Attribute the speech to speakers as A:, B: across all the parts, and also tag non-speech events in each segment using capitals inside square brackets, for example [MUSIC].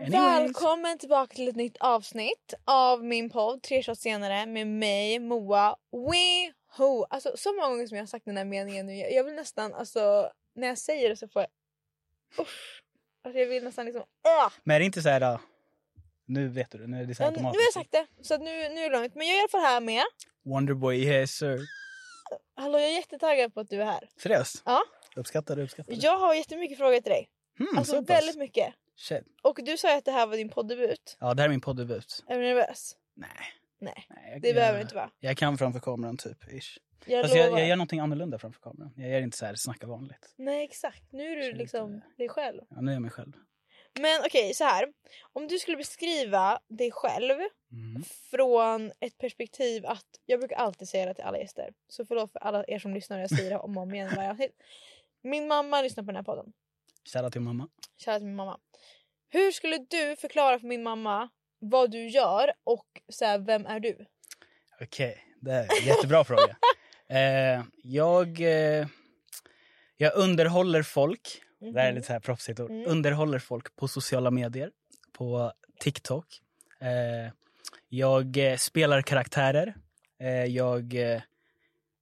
A: Anyways. Välkommen tillbaka till ett nytt avsnitt av min podd Tre shots senare med mig Moa Weho. Alltså så många gånger som jag har sagt den här meningen nu. Jag jag vill nästan alltså när jag säger det så får jag usch. Alltså jag vill nästan liksom ah.
B: Men är det inte så här... ah, Nu vet du det. Nu är det så
A: Ja,
B: här
A: nu nu har jag
B: automatiskt.
A: sagt det så att nu, nu är det lugnt. Men jag är i alla fall här med.
B: Wonderboy, yes sir.
A: Hallå jag är jättetaggad på att du är här.
B: Seriöst?
A: Ja.
B: Uppskattar du, uppskattar du.
A: Jag har jättemycket frågor till dig.
B: Mm,
A: Alltså
B: så pass.
A: väldigt mycket.
B: Shit.
A: Och du sa ju att det här var din poddebut.
B: Ja, det här är min poddebut.
A: Är du nervös?
B: Nej.
A: Nej,
B: Nej jag,
A: det behöver du inte vara.
B: Jag kan framför kameran typ, ish.
A: Jag
B: Alltså, jag,
A: lovar.
B: jag gör någonting annorlunda framför kameran. Jag gör inte så här snacka vanligt.
A: Nej exakt, nu är
B: Känner
A: du
B: inte
A: liksom
B: det.
A: dig själv.
B: Ja, nu är jag mig själv.
A: Men okej, så här. Om du skulle beskriva dig själv
B: Mm.
A: från ett perspektiv att... Jag brukar alltid säga det till alla gäster. Så förlåt för alla er som lyssnar. Jag säger det om och om igen. i varje avsnitt. Min mamma lyssnar på den här podden.
B: Shoutout till mamma.
A: Kära till min mamma. Hur skulle du förklara för min mamma vad du gör och så här, vem är du?
B: Okej, det är en
A: [LAUGHS]
B: jättebra fråga. Eh, jag, eh, jag underhåller folk. Det här är
A: Mhm.
B: lite så här proffsigt ord.
A: Mm.
B: Underhåller folk på sociala medier, på TikTok. Eh, jag eh, spelar karaktärer. Eh, jag... Eh,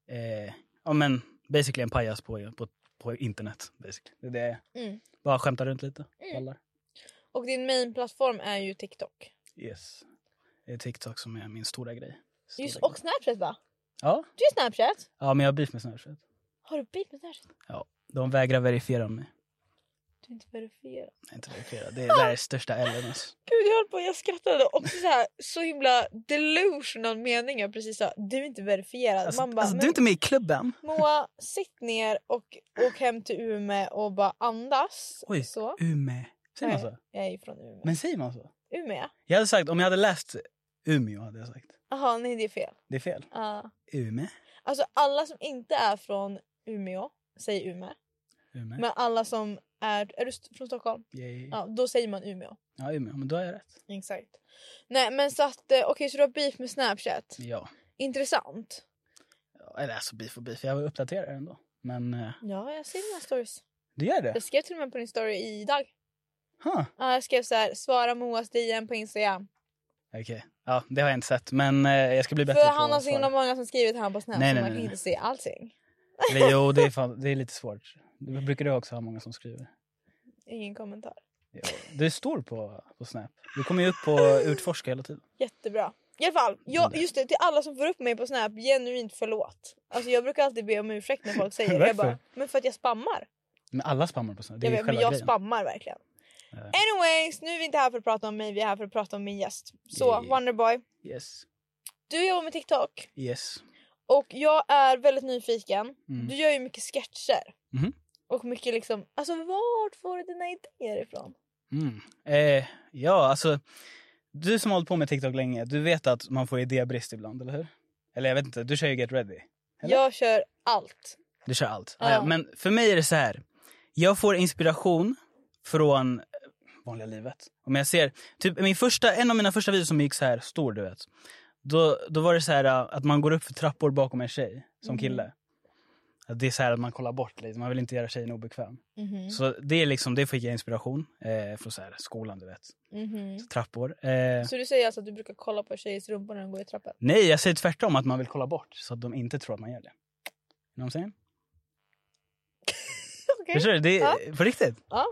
B: eh, ja, men basically en pajas på, på, på internet. Basically. Det är det. jag är.
A: Mm.
B: Bara skämtar runt lite.
A: Mm.
B: Ballar.
A: Och din mainplattform är ju TikTok.
B: Yes. Det är TikTok som är min stora grej. Stora
A: Just,
B: grej.
A: och Snapchat va?
B: Ja.
A: Du är Snapchat?
B: ja, men jag har beef med Snapchat.
A: Har du bild med Snapchat?
B: De vägrar verifiera mig.
A: Du är inte verifierad.
B: Nej, inte verifiera. Det, är- det här
A: [LAUGHS]
B: är största Ellen. Alltså.
A: Gud jag höll på, jag skrattade och så här, så himla delusional mening jag precis sa. Du är inte verifierad.
B: Alltså,
A: Man bara,
B: alltså, du
A: men
B: är inte med i klubben.
A: Moa sitt ner och åk hem till Umeå och bara andas.
B: Oj,
A: Så.
B: Umeå. Säger man
A: Nej.
B: så?
A: Jag är ju från Umeå.
B: Men säger man så?
A: Umeå?
B: Jag hade sagt, om jag hade läst Umeå hade jag sagt.
A: Jaha nej det är fel.
B: Det är fel.
A: Ja.
B: Umeå.
A: Alltså alla som inte är från Umeå säger Umeå.
B: Umeå.
A: Men alla som är, är du st- från Stockholm?
B: Yay. Ja.
A: Ja, då säger man Umeå.
B: Umeå. Men då har jag rätt.
A: Exakt. Nej men så att, eh, okej så du har beef med Snapchat.
B: Ja.
A: Intressant.
B: Ja, Eller alltså beef och beef. Jag uppdaterar ändå. Men eh,
A: Ja jag ser dina stories.
B: du gör det?
A: Jag skrev till och med på din story idag.
B: Huh.
A: Ja, jag skrev så här, svara Moas DM på Instagram.
B: Okej. Ja, det har jag inte sett. Men eh, jag ska bli bättre
A: För
B: på
A: han har
B: att
A: så himla
B: svara.
A: många som skrivit han på Snap
B: Nej,
A: så
B: nej,
A: man
B: nej,
A: kan
B: nej.
A: inte se allting.
B: Eller,
A: [LAUGHS]
B: Jo, det är, fan, det är lite svårt. Det brukar du också ha många som skriver.
A: Ingen kommentar.
B: Jo. Du är stor på, på Snap. Du kommer ju upp på Utforska hela tiden.
A: Jättebra. I alla fall, jag,
B: Där.
A: just det, till alla som får upp mig på Snap, genuint förlåt. Alltså jag brukar alltid be om ursäkt när folk säger det. Jag
B: Varför?
A: bara, men för att jag spammar.
B: Men alla spammar på Snap. Det är
A: Jag,
B: ju
A: vet, men
B: själva
A: jag
B: grejen.
A: spammar verkligen.
B: Ja.
A: Anyways, nu är vi inte här för att prata om mig, vi är här för att prata om min gäst. Så
B: Yeah.
A: Wonderboy,
B: Yes.
A: du jobbar med TikTok
B: Yes.
A: och jag är väldigt nyfiken.
B: Mm.
A: Du gör ju mycket sketcher.
B: Mhm.
A: Och mycket liksom, alltså vart får du dina idéer ifrån?
B: Mm. Eh, ja, alltså. Du som har hållit på med TikTok länge, du vet att man får idébrist ibland, eller hur? Eller jag vet inte, du kör ju Get Ready. Eller?
A: Jag kör allt.
B: Du kör allt.
A: Ja.
B: Ah, ja. Men för mig är det så här. Jag får inspiration från eh, vanliga livet. Om jag ser, typ min första, en av mina första videor som gick så här stor, du vet. Då, då var det så här ah, att man går upp för trappor bakom en tjej som
A: Mhm.
B: kille. Att det är så här att man kollar bort lite, man vill inte göra tjejen obekväm.
A: Mhm.
B: Så det är liksom, det fick jag inspiration eh, från så här skolan, du vet.
A: Mhm.
B: Trappor. Eh,
A: Så du säger alltså att du brukar kolla på tjejers rumpor när de går i trappan?
B: nej, jag säger tvärtom att man vill kolla bort så att de inte tror att man gör det. You know what I'm
A: Mm.
B: saying?
A: Okej.
B: Förstår du? Det är
A: Ja.
B: på riktigt.
A: Ja.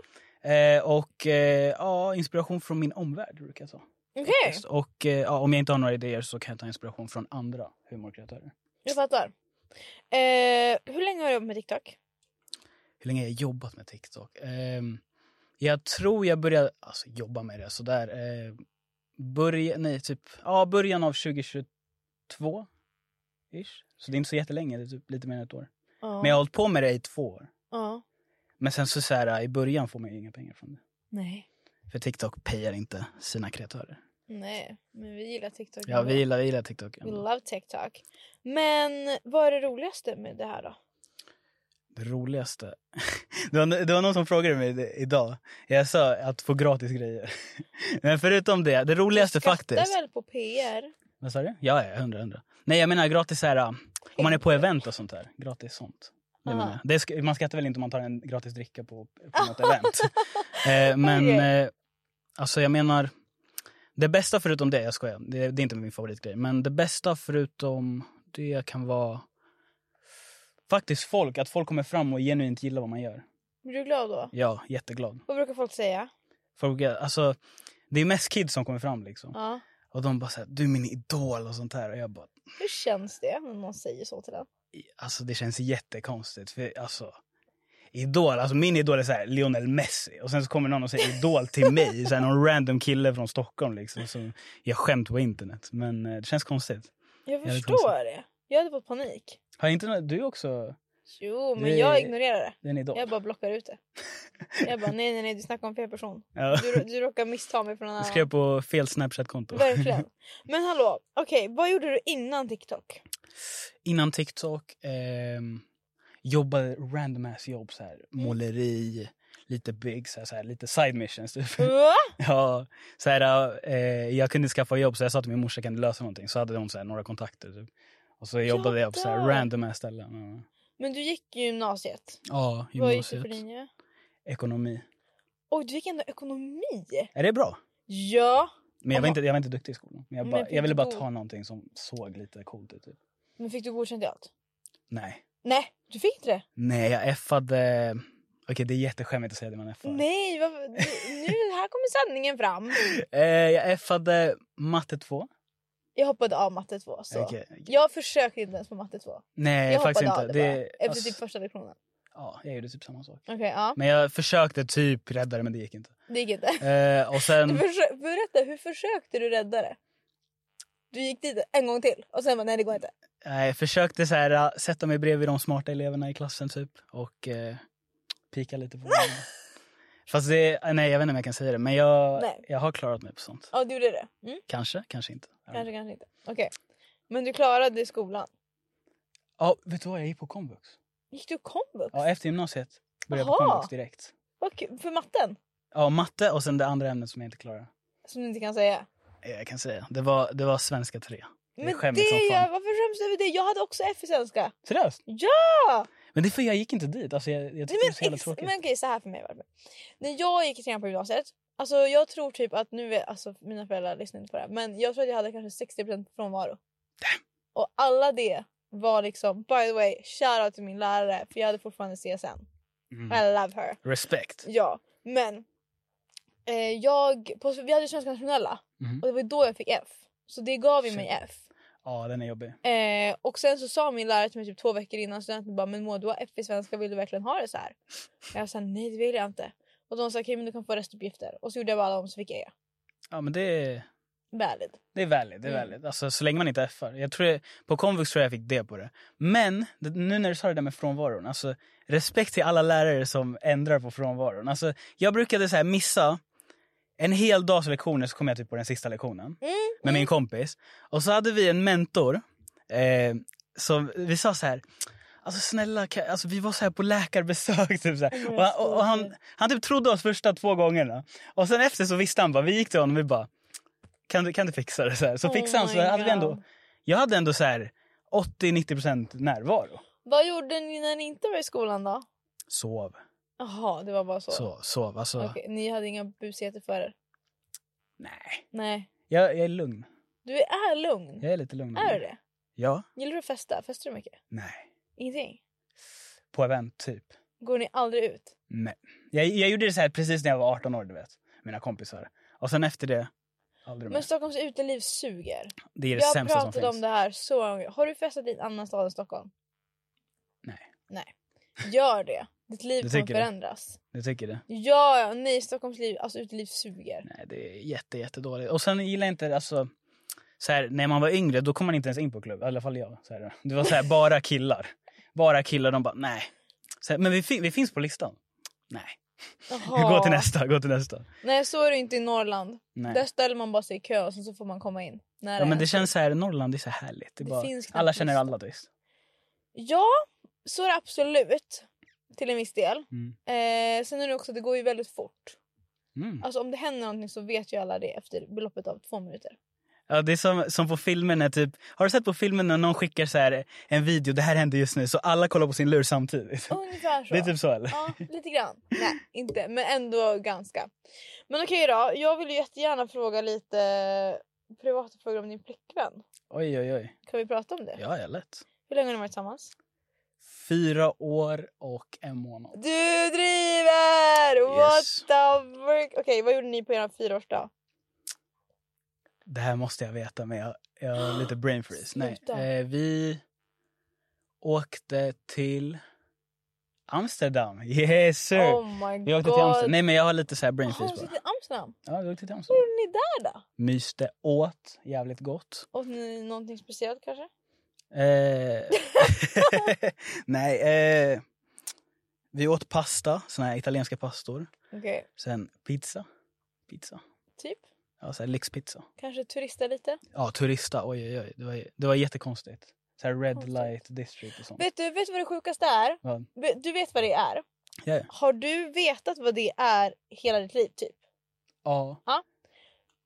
B: Eh, och eh, ja, inspiration från min omvärld brukar jag ta.
A: Okej,
B: faktiskt. Och eh, ja, om jag inte har några idéer så kan jag ta inspiration från andra humorkreatörer.
A: jag fattar. Eh, hur länge har du jobbat med TikTok?
B: Hur länge har jag jobbat med TikTok? Ehm, jag tror jag började alltså, jobba med det sådär. Eh, börja, nej, typ, ja, början av 2022. Ish. Så det är inte så jättelänge, det är typ lite mer än ett år.
A: Ja.
B: Men jag har hållit på med det i två år.
A: Ja.
B: Men sen så, så här, i början får man ju inga pengar från det.
A: Nej.
B: För TikTok payar inte sina kreatörer.
A: Nej, men vi gillar TikTok.
B: Ja, vi gillar, vi gillar TikTok.
A: We
B: ändå.
A: love TikTok. Men vad är det roligaste med det här då?
B: Det roligaste. [LAUGHS] Det var, det var någon som frågade mig det, idag. Jag sa att få gratis grejer. [LAUGHS] Men förutom det, det roligaste faktiskt.
A: väl på PR?
B: Vad sa du? Ja, ja, hundra, hundra. Nej, jag menar gratis så här, äh, om man är på event och sånt där. Gratis sånt. Det
A: Aha.
B: menar jag. det, sk- man skrattar väl inte om man tar en gratis dricka på, på något event. Eh, men
A: Okej.
B: eh, alltså jag menar, det bästa förutom det, jag skojar, det, det är inte min favoritgrej, men det bästa förutom det kan vara faktiskt folk, att folk kommer fram och genuint gillar vad man gör.
A: Blir du glad då?
B: Ja, jätteglad.
A: Vad brukar folk säga?
B: Folk, är- alltså, det är mest kids som kommer fram liksom.
A: Ja.
B: Och de bara såhär, du är min idol och sånt här. Och jag bara,
A: Hur känns det när någon säger så till en?
B: alltså det känns jättekonstigt. För alltså, idol, alltså min idol är så här, Lionel Messi. Och sen så kommer någon och säger idol till mig. Så här, någon random kille från Stockholm liksom. Som jag skämt på internet. Men eh, det känns konstigt.
A: Jag
B: vet
A: förstår det. Jag hade fått panik.
B: Har inte nå- du också
A: Jo, men
B: Det-
A: jag ignorerar det.
B: en idol?
A: Jag bara blockar ut det. Jag bara nej, nej, nej, du snackar om fel person.
B: Ja.
A: Du, du råkar missta mig från en
B: Jag
A: annan.
B: skrev på fel Snapchat-konto.
A: Verkligen. Men hallå, okej, vad gjorde du innan TikTok?
B: Innan TikTok ehm, jobbade random ass jobb. Så här, måleri, lite bygg, så här, så här, lite side missions. Typ.
A: Va?
B: [LAUGHS] Ja, så här, eh, jag kunde skaffa jobb så jag sa till min morsa kan du lösa någonting. Så hade de så här, några kontakter. Typ. Och så jobbade jag på så här,
A: dör.
B: random här ställen.
A: Men du gick ju gymnasiet.
B: Ja,
A: Vad gick du
B: gymnasiet.
A: för linje?
B: Ekonomi.
A: Oj, du gick ändå ekonomi.
B: Är det bra?
A: Ja,
B: Men jag var,
A: Aha.
B: inte, jag var inte duktig i skolan. Men jag,
A: Men
B: bara,
A: fick
B: jag ville
A: du
B: bara
A: god-
B: ta någonting som såg lite coolt ut. Typ.
A: men fick du godkänt i allt?
B: Nej.
A: Nej, du fick inte det.
B: Nej, jag effade... Okej, det är jätteskämmigt att säga det man effar.
A: Nej, vad, nu nu- här kommer sanningen fram.
B: [LAUGHS] Eh, jag effade matte 2.
A: Jag hoppade av matte 2. Så.
B: Okej.
A: Jag försökte inte ens på matte 2.
B: Nej,
A: jag
B: faktiskt
A: hoppade
B: inte.
A: av det,
B: Det- alltså-
A: bara, efter
B: ass-
A: typ första lektionen.
B: Ja, jag gjorde typ samma sak.
A: Okej, ja.
B: Men jag försökte typ rädda det, men det gick inte.
A: Det gick inte.
B: Eh,
A: [LAUGHS]
B: och sen...
A: Du försö- berätta, hur försökte du rädda det? Du gick dit en gång till och sen bara nej det går inte.
B: Nej, jag eh, försökte så här, äh, sätta mig bredvid de smarta eleverna i klassen typ och eh, pika lite på dem. Fast det, äh, nej jag vet inte om jag kan säga det men jag,
A: Nej.
B: jag har klarat mig på sånt.
A: Ja, du gjorde det. Mm,
B: Kanske, kanske inte. Ja.
A: kanske, kanske inte. Okej. Men du klarade i skolan.
B: Ja, vet du vad, jag gick på komvux.
A: Gick du komvux?
B: Ja, efter gymnasiet började jag på
A: Jaha.
B: komvux direkt.
A: Vad kul. För matten?
B: Ja, matte och sen det andra ämnet som jag inte klarade.
A: Som du inte kan säga.
B: Eh, Jag kan säga, det var, det var svenska 3. Det är
A: Men det
B: skämmigt som
A: är jag,
B: fan.
A: varför skäms du över det? Jag hade också F i svenska.
B: Seriöst?
A: Ja!
B: Men det är för jag gick inte dit, alltså jag, jag tyckte
A: Nej,
B: det var så
A: men,
B: jävla
A: ex-
B: tråkigt.
A: men okej, så här för mig var det. När jag gick i trean på gymnasiet, alltså jag tror typ att nu, är- alltså mina föräldrar lyssnar inte på det här, men jag tror att jag hade kanske 60% frånvaro. Och alla det var liksom, by the way, shoutout till min lärare för jag hade fortfarande CSN.
B: Mm.
A: I love her.
B: Respekt.
A: Ja, men eh, jag, på, vi hade ju Svenska nationella
B: Mhm.
A: och det var ju då jag fick F. Så det gav ju
B: Shit.
A: mig F.
B: Ja, den är jobbig.
A: Eh, och sen så sa min lärare till mig typ två veckor innan studenten bara men Moa du har F i svenska vill du verkligen ha det så här? Och jag sa nej det vill jag inte. Och de sa okej men du kan få restuppgifter och så gjorde jag bara alla om så fick jag E.
B: Ja, men det är...
A: Valid.
B: Det är väldigt, det är
A: Mm.
B: väldigt. Alltså, så länge man inte effar. Jag tror, på komvux tror jag jag fick det på det. Men det, nu när du sa det där med frånvaron, alltså respekt till alla lärare som ändrar på frånvaron. Alltså, jag brukade så här missa en hel dags lektioner så kom jag typ på den sista lektionen
A: Mm.
B: med min kompis. Och så hade vi en mentor eh, som vi sa så här, alltså snälla, kan, alltså, vi var så här på läkarbesök [LAUGHS] typ så här.
A: men
B: Och, han- och, och han,
A: gud.
B: han typ trodde oss första två gångerna. Och sen efter så visste han bara, vi gick till honom och vi bara, kan du, kan du fixa det? Så, här. så
A: Oh
B: fixade han så
A: my
B: hade vi ändå,
A: God.
B: jag hade ändå så här 80-90% närvaro.
A: Vad gjorde ni när ni inte var i skolan då?
B: Sov,
A: Jaha det var bara så.
B: sov, sov. Alltså,
A: Okej, ni hade inga busigheter för er?
B: nej.
A: Nej.
B: Jag, jag är lugn.
A: Du är lugn.
B: Jag är lite lugn.
A: Är du det?
B: Ja.
A: Gillar du att festa? Festar du mycket?
B: Nej.
A: Ingenting?
B: På event, typ.
A: Går ni aldrig ut?
B: Nej. Jag, jag gjorde det så här precis när jag var 18 år, du vet. Mina kompisar. Och sen efter det, aldrig mer.
A: Men Stockholms uteliv suger.
B: Det är det
A: Jag
B: sämsta som
A: pratade
B: finns.
A: om det här så många gånger. Har du festat i en annan stad än Stockholm?
B: Nej.
A: Nej. Gör det. Ditt liv
B: Du
A: kommer
B: tycker det?
A: förändras.
B: Du tycker det?
A: Ja, ja, nej Stockholms liv, alltså uteliv
B: [LAUGHS]
A: suger.
B: Nej, det är jätte, jättedåligt. Och sen gillar jag inte, alltså, så här, när man var yngre då kom man inte ens in på klubb. I alla fall jag. Så här, det var så här, bara killar. Bara killar, de bara nej. Så här, men vi, fin- vi finns på listan. Nej,
A: Jaha.
B: gå till nästa, gå till nästa.
A: Nej så är det inte i Norrland. Där
B: Nej.
A: ställer man bara sig i kö och sen så får man komma in. När
B: Ja, men det
A: är.
B: känns så här, Norrland är så härligt. Det är
A: Det
B: bara,
A: finns knappt
B: alla känner
A: nästa.
B: alla typ.
A: Ja, så är det absolut. Till en viss del.
B: Mm.
A: Eh, sen är det också, det går ju väldigt fort.
B: Mm.
A: Alltså om det händer någonting så vet ju alla det efter beloppet av två minuter.
B: Ja, det är som, som på filmen när typ, har du sett på filmen när någon skickar så här en video, det här händer just nu, så alla kollar på sin lur samtidigt.
A: Ungefär så.
B: Det är typ så eller? [LAUGHS]
A: Ja, lite grann. Nej, inte. Men ändå ganska. Men okej då. Jag vill ju jättegärna fråga lite privata frågor om din flickvän.
B: Oj oj oj.
A: Kan vi prata om det?
B: Ja, ja lätt.
A: Hur länge har ni varit tillsammans?
B: Fyra år och en månad.
A: Du driver! What
B: Yes.
A: the frick? Okej, vad gjorde ni på er fyraårsdag?
B: Det här måste jag veta men jag, jag
A: [GASPS]
B: har lite brain freeze.
A: Sluta.
B: Nej. Eh, vi åkte till Amsterdam. Yes sir!
A: Oh my god.
B: vi åkte till Amsterdam. Nej men jag har lite så här brain
A: Jaha,
B: freeze
A: ni åkte
B: bara.
A: till Amsterdam?
B: Ja, vi åkte till
A: Vad
B: Amsterdam.
A: gjorde ni där då?
B: Myste, åt jävligt gott.
A: Åt ni någonting speciellt kanske?
B: Eh,
A: [LAUGHS]
B: nej, eh, vi åt pasta, såna här italienska pastor.
A: Okej,
B: Sen pizza. Pizza.
A: typ.
B: Ja, så här lyxpizza.
A: Kanske turista lite.
B: Ja, turista. Oj, oj, oj. Det var, det var jättekonstigt. Så här red
A: Konstigt.
B: light district och sånt.
A: Vet du, vet du vad det sjukaste är?
B: Vad?
A: Ve- Du vet vad det är?
B: Ja, ja.
A: Har du vetat vad det är hela ditt liv typ?
B: ja.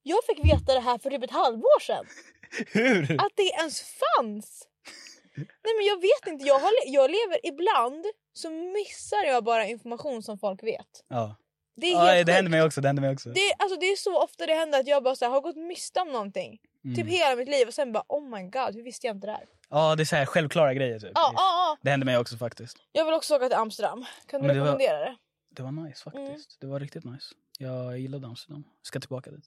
A: Jag fick veta det här för typ ett halvår sedan.
B: Hur?
A: Att det ens fanns! Nej men jag vet inte, jag, har le- jag lever ibland så missar jag bara information som folk vet.
B: Ja.
A: Det är
B: Ja,
A: helt
B: det
A: sjukt.
B: hände mig också. Det hände mig också.
A: det, är- alltså, det är så ofta det händer att jag bara så här, har gått miste om någonting. Typ
B: Mm.
A: hela mitt liv och sen bara oh my god hur visste jag inte det här?
B: Ja, det är så här självklara grejer typ.
A: Ja, ja, ja.
B: Det hände mig också faktiskt.
A: Jag vill också åka till Amsterdam. Kan du
B: Men det var-
A: rekommendera det?
B: Det var nice faktiskt.
A: Mm.
B: Det var riktigt nice. Jag gillade Amsterdam. Ska tillbaka dit.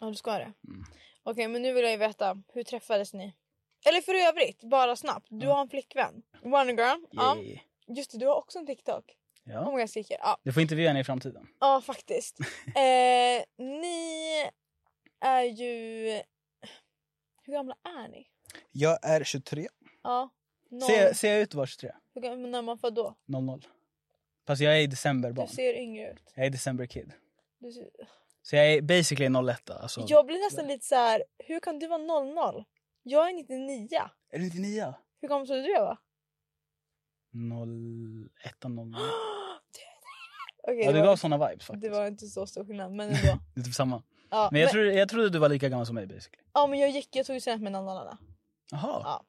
A: Ja du ska det?
B: Mm.
A: Okej men nu vill jag ju veta, hur träffades ni? Eller för övrigt, bara snabbt. Du har en flickvän. Wonder girl. Ja.
B: Yay.
A: Just det, du har också en TikTok.
B: Ja.
A: Oh my god skriker. Ja.
B: Du får intervjua henne i framtiden.
A: Ja,
B: [LAUGHS]
A: faktiskt. Eh, ni är ju... Hur gamla är ni?
B: Jag är 23.
A: Ja. Noll.
B: Ser, ser jag ut att vara 23?
A: Hur gamla, när man född då?
B: 00. Fast jag är i december
A: Du
B: barn.
A: ser yngre ut.
B: Jag är december kid.
A: Du ser...
B: Så jag är basically 01. Alltså.
A: Jag blir nästan lite så här. hur kan du vara 00? Jag är 99.
B: Är du 99?
A: Hur gammal trodde du jag var? [GASPS]
B: 01, 00.
A: Okej,
B: Mm. Ja,
A: det,
B: du gav
A: var-
B: såna vibes faktiskt.
A: det var inte så stor skillnad, men
B: [LAUGHS]
A: ändå.
B: Det är typ samma.
A: Ja,
B: Men jag, trodde, jag trodde du var lika gammal som mig basically.
A: ja, men jag gick, jag tog ju senast med en annan Anna.
B: Jaha.
A: Ja.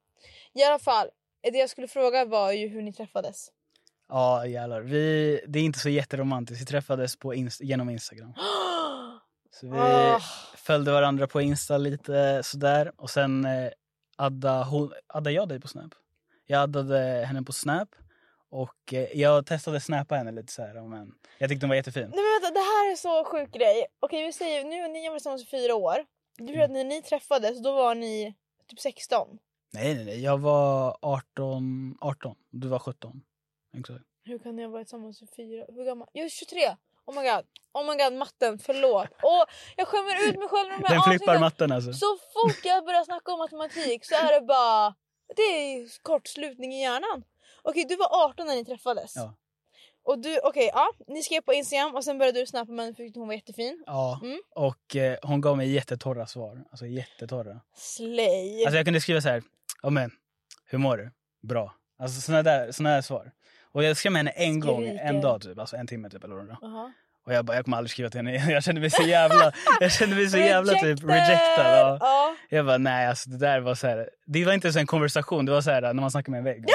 A: I alla fall, det jag skulle fråga var ju hur ni träffades. [GASPS]
B: Ja jävlar. Vi, det är inte så jätteromantiskt. Vi träffades på inst- genom Instagram. Så vi
A: Ah.
B: följde varandra på Insta lite sådär. Och sen eh, adda, hon, adda jag dig på Snap. Jag addade henne på Snap. Och eh, jag testade snappa henne lite så här, men Jag tyckte hon var jättefin.
A: Nej men vänta, det här är så sjuk grej. Okej vi säger, nu har ni varit tillsammans i fyra år. Du
B: Mm.
A: vet att när ni träffades då var ni typ 16.
B: Nej nej nej, jag var 18, 18. Du var 17. Exakt.
A: Hur kan ni ha varit tillsammans i fyra Hur gammal? Jag är 23! Oh my god, oh my god matten, förlåt. Åh, jag skämmer ut mig själv med de här
B: Den flippar
A: avsnitten.
B: matten alltså.
A: Så fort jag börjar snacka om matematik så är det bara... Det är kortslutning i hjärnan. Okej, du var 18 när ni träffades.
B: Ja.
A: Och du, okej, ja. Ni skrev på Instagram och sen började du snappa men tyckte hon var jättefin.
B: Ja,
A: Mm.
B: och eh, hon gav mig jättetorra svar. Alltså jättetorra.
A: Slay!
B: Alltså jag kunde skriva så här, ja men, hur mår du? Bra. Alltså såna där, såna där svar. Och jag skrev med henne en gång,
A: Skriker.
B: en dag typ, alltså en timme typ eller några.
A: Jaha.
B: Och jag bara, jag kommer aldrig skriva till henne igen. [LAUGHS] Jag kände mig så jävla, jag kände mig så jävla typ
A: Rejected!
B: rejectad. Ja.
A: Ja.
B: Jag bara, nej alltså det där var så här, det var inte ens en konversation, det var så här när man snackar med en vägg.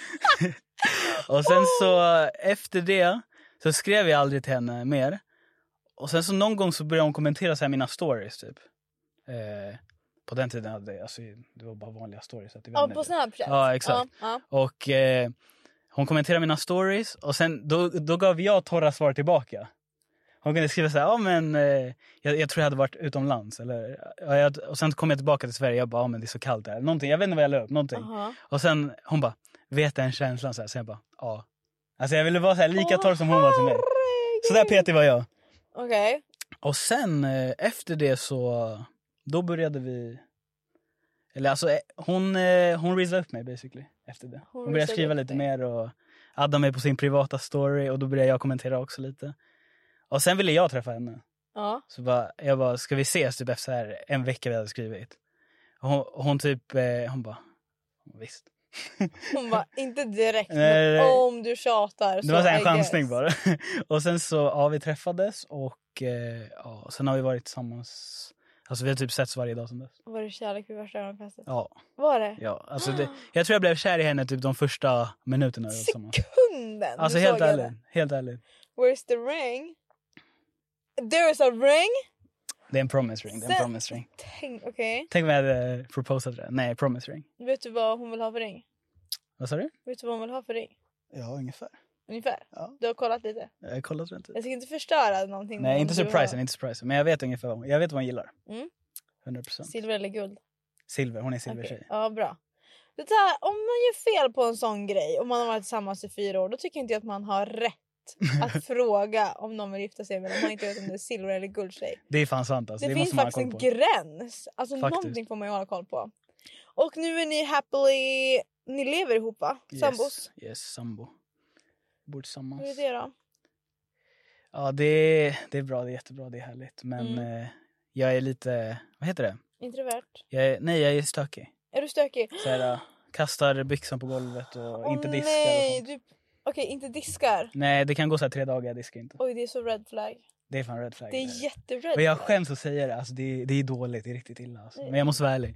B: [LAUGHS] och sen så
A: Oh.
B: efter det så skrev jag aldrig till henne mer. Och sen så någon gång så började hon kommentera så här mina stories typ. Eh, på den tiden hade jag, alltså, det var bara vanliga stories. så att det var
A: ja,
B: inte-
A: på Snapchat.
B: Ja, exakt.
A: Ja,
B: Och eh, hon kommenterade mina stories och sen då, då gav jag torra svar tillbaka. Hon kunde skriva så här, ja men eh, jag, jag tror jag hade varit utomlands. Eller, ja, jag, och sen kom jag tillbaka till Sverige jag bara, ja men det är så kallt där. Någonting, jag vet inte vad jag la upp,
A: ja.
B: någonting.
A: Aha.
B: Och sen hon bara, vet den känslan? Så, här, så jag bara, ja. Alltså jag ville vara så här, lika torr som hon var till mig. Så där petig var jag.
A: Okej.
B: Och sen eh, efter det så, då började vi... Eller alltså eh, hon, eh, hon raisade upp mig basically efter det.
A: Hon
B: Hon, började
A: raisade
B: skriva
A: upp
B: lite
A: dig.
B: mer och addade mig på sin privata story och då började jag kommentera också lite. Och sen ville jag träffa henne.
A: Ja.
B: Så bara, jag bara, ska vi ses typ efter så här en vecka vi hade skrivit? Och hon, hon typ, eh, hon bara, visst.
A: Hon
B: [LAUGHS]
A: bara, inte direkt
B: Nej,
A: men
B: nej.
A: om du tjatar så
B: Det var så här
A: I
B: en chansning
A: guess.
B: bara. [LAUGHS] Och sen så, ja vi träffades och eh, ja, sen har vi varit tillsammans. Alltså vi har typ setts varje dag sen dess.
A: Var det kärlek vid första ögonkastet?
B: Ja,
A: Var det?
B: ja.
A: [GASPS]
B: Alltså det, jag tror jag blev kär i henne typ de första minuterna vi var tillsammans.
A: Sekunden!
B: Alltså
A: du
B: helt
A: såg henne.
B: ärligt, helt ärligt.
A: Where's the ring? There is a ring?
B: Det är en promise ring, det är en
A: Sen-
B: promise ring.
A: Tänk, okej.
B: Tänk om jag hade eh, proposat det. Nej, promise ring.
A: Vet du vad hon vill ha för ring?
B: Vad sa du?
A: Vet du vad hon vill ha för ring?
B: Ja, ungefär.
A: Ungefär.
B: Ja.
A: Du har kollat lite.
B: Jag har kollat runt
A: Jag ska inte förstöra någonting.
B: Nej,
A: om
B: inte
A: du vill
B: surprisen,
A: ha
B: inte surprisen. Men jag vet ungefär vad hon, jag vet vad hon gillar.
A: Mm.
B: 100%.
A: Silver eller guld?
B: Silver, hon är silvertjej.
A: Okej, Ja, bra. Det där, om man gör fel på en sån grej och man har varit tillsammans i fyra år då tycker inte jag att man har rätt
B: [LAUGHS]
A: att fråga om någon vill gifta sig med om man inte vet om det är silver eller guldtjej.
B: Det är fan sant alltså.
A: Det,
B: Det,
A: finns
B: måste man ha
A: faktiskt
B: koll
A: en
B: på.
A: gräns. Alltså
B: Faktiskt.
A: någonting får man ju hålla koll på. Och nu är ni happily... Ni lever ihop va? Sambos?
B: Yes, yes sambo. Bor tillsammans.
A: Hur är det då?
B: Ja, det är, det är bra, det är jättebra, det är härligt. Men
A: Mm.
B: eh, jag är lite, vad heter det?
A: Introvert?
B: Jag är, nej, jag är stökig.
A: Är du stökig?
B: Så här, äh, kastar byxan på golvet och
A: Åh,
B: inte diskar och
A: nej,
B: sånt.
A: du... Okej, inte diskar.
B: Nej, det kan gå så här tre dagar, jag diskar inte.
A: Oj, det är så red flag.
B: Det är fan red flag.
A: Det
B: där.
A: är jättered
B: och jag
A: flag.
B: skäms att säga det, alltså, det, är- det är dåligt, det är riktigt illa. Alltså. Men jag måste vara ärlig.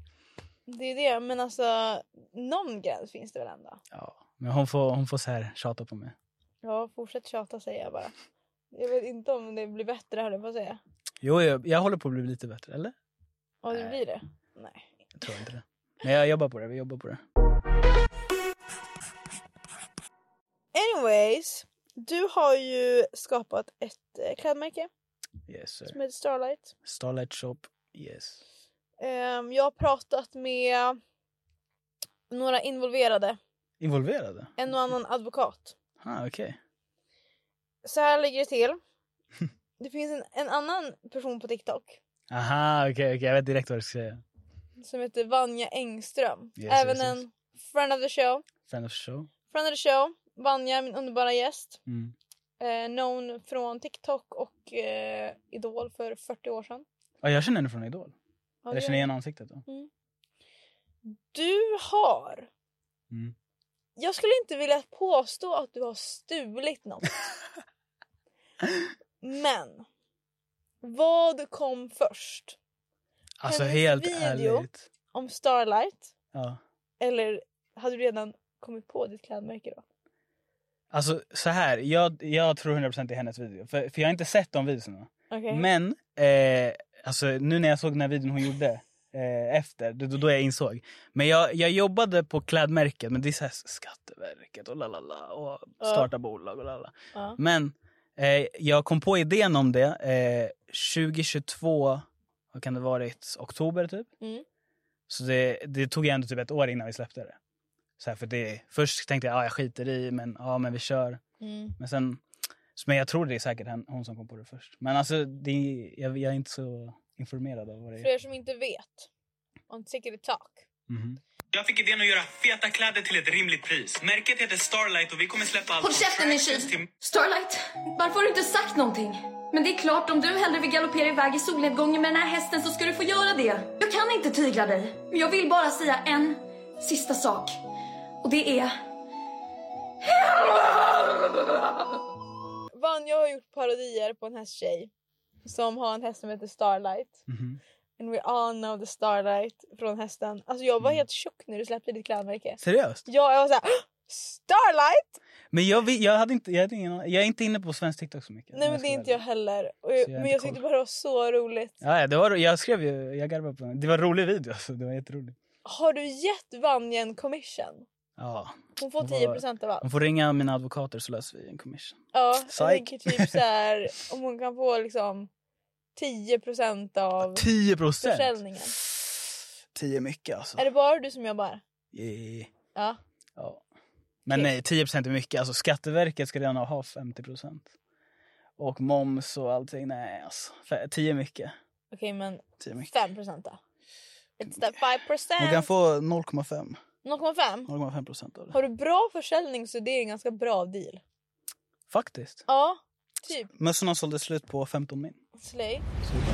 A: Det är det, men alltså någon gräns finns det väl ändå?
B: Ja. Men hon får, hon får så här tjata på mig.
A: Ja, fortsätt tjata säger jag bara. Jag vet inte om det blir bättre höll jag på att säga.
B: Jo, jag, jag håller på att bli lite bättre, eller?
A: Ja, det
B: Nej.
A: blir det. Nej.
B: Jag tror inte det. Men jag jobbar på det, vi jobbar på det.
A: Anyways, du har ju skapat ett eh, klädmärke
B: Yes sir.
A: som heter Starlight.
B: Starlight shop, yes.
A: Ehm, jag har pratat med några involverade,
B: Involverade?
A: en och annan advokat.
B: Ah, okej.
A: Så här ligger det
B: [LAUGHS]
A: till. Det finns en, en annan person på TikTok
B: Aha, okej, okej. jag vet direkt vad du ska säga.
A: som heter Vanja Engström.
B: Yes,
A: Även
B: yes, yes.
A: en friend of the show.
B: Friend of show.
A: Friend of the show, Vanja, min underbara gäst.
B: Mm.
A: Eh, known från TikTok och eh, Idol för 40 år sedan.
B: Ja, jag känner henne från Idol.
A: Ja, det
B: Eller jag känner
A: gör-
B: igen ansiktet då.
A: Du har...
B: Mm.
A: Jag skulle inte vilja påstå att du har stulit
B: [LAUGHS]
A: något. Men vad kom först?
B: Alltså
A: Hennes
B: helt
A: video.
B: ärligt.
A: Om Starlight?
B: Ja.
A: Eller hade du redan kommit på ditt klädmärke då?
B: Alltså så här, jag, jag tror 100% det är hennes video. För, för jag har inte sett de videorna.
A: Okej.
B: Men eh, alltså, nu när jag såg den här videon hon gjorde eh, efter, det- då, då jag insåg. Men jag, jag jobbade på klädmärket, men det är så här Skatteverket och lalala och
A: Ja.
B: starta bolag och lalala.
A: Ja.
B: Men eh, jag kom på idén om det eh, 2022, vad kan det varit, oktober typ.
A: Mm.
B: Så det, det tog ändå typ ett år innan vi släppte det. Så här, för det, först tänkte jag, ah, jag skiter i, men, ah, men vi kör.
A: Mm.
B: Men sen, så- men jag tror det är säkert hen- hon som kom på det först. Men alltså, det, jag, jag är inte så informerad av vad det
A: För
B: är.
A: er som inte vet, on Ticket Talk.
B: Mhm.
C: Jag fick idén att göra feta kläder till ett rimligt pris. Märket heter Starlight och vi kommer släppa allt
D: Håll
C: från
D: käften din
C: tracksuits
D: tjuv!
C: till-
D: Starlight, varför har du inte sagt någonting? Men det är klart, om du hellre vill galoppera iväg i solnedgången med den här hästen så ska du få göra det. Jag kan inte tygla dig. Men Jag vill bara säga en sista sak. Och det är...
A: Vanja har gjort parodier på en hästtjej som har en häst som heter Starlight.
B: Mhm.
A: And we all know the starlight från hästen. Alltså jag var
B: Mm.
A: helt tjock när du släppte ditt klädmärke.
B: Seriöst?
A: Ja, jag var såhär Starlight!
B: Men jag, vet- jag, hade inte, jag, hade ingen, jag är inte inne på svensk TikTok så mycket.
A: Nej
B: om
A: men
B: ska
A: det är
B: vara
A: inte jag
B: ärlig.
A: heller. Och
B: Så jag
A: jag,
B: har
A: men
B: inte
A: jag
B: koll.
A: tyckte bara det var så roligt.
B: Ja, ja, det var, jag skrev ju, jag garvade på den. Det var en rolig video alltså, det var jätteroligt.
A: Har du gett Vanja en commission?
B: Ja,
A: Hon får
B: Vad-
A: 10% av allt.
B: de får ringa mina advokater så löser vi en commission.
A: Ja, jag
B: Psych.
A: tänker typ
B: [LAUGHS]
A: såhär om hon kan få liksom 10% av
B: 10 procent!
A: försäljningen.
B: 10 är mycket alltså.
A: Är det bara du som jobbar?
B: Yeah.
A: Ja.
B: Ja. Men
A: Okej.
B: nej, 10 procent är mycket. Alltså, Skatteverket ska redan ha 50 procent. Och moms och allting. Nej, alltså. Fe- 10 är mycket.
A: Okej men
B: 10 är mycket.
A: 5% då? It's that 5%?
B: Hon kan få 0,5.
A: 0,5?
B: 0,5 procent av det.
A: Har du bra försäljning så det är en ganska bra deal.
B: Faktiskt.
A: Ja, typ.
B: Mössorna sålde slut på 15 min.
A: Slay.
B: Så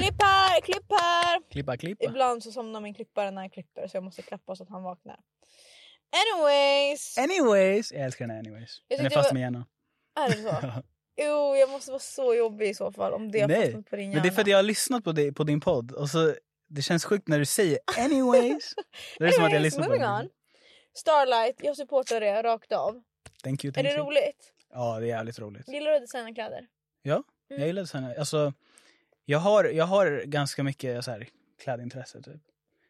B: det är bara
A: Klipp här, klipp här!
B: Klippa, klippa.
A: Ibland så somnar min klippare när han klipper så jag måste klappa så att han vaknar. Anyways!
B: Anyways! Jag älskar den här anyways.
A: Jag
B: Den är
A: tyckte
B: fast
A: det
B: med hjärnan.
A: Är det så?
B: [LAUGHS]
A: Jo, jag måste vara så jobbig i så fall om det har
B: Nej,
A: fastnat på din hjärna.
B: Men det är för att jag har lyssnat på, dig, på din podd och så det känns sjukt när
A: [LAUGHS]
B: du säger anyways. Det är som att jag
A: Anyways,
B: lyssnar på
A: moving
B: den.
A: on. Starlight, jag supportar det rakt av.
B: Thank you,
A: Är
B: thank
A: det
B: you.
A: roligt?
B: Ja, det är jävligt roligt.
A: Gillar du att designa kläder?
B: Ja, jag gillar design. Alltså, jag har, jag har ganska mycket så här, klädintresse, typ.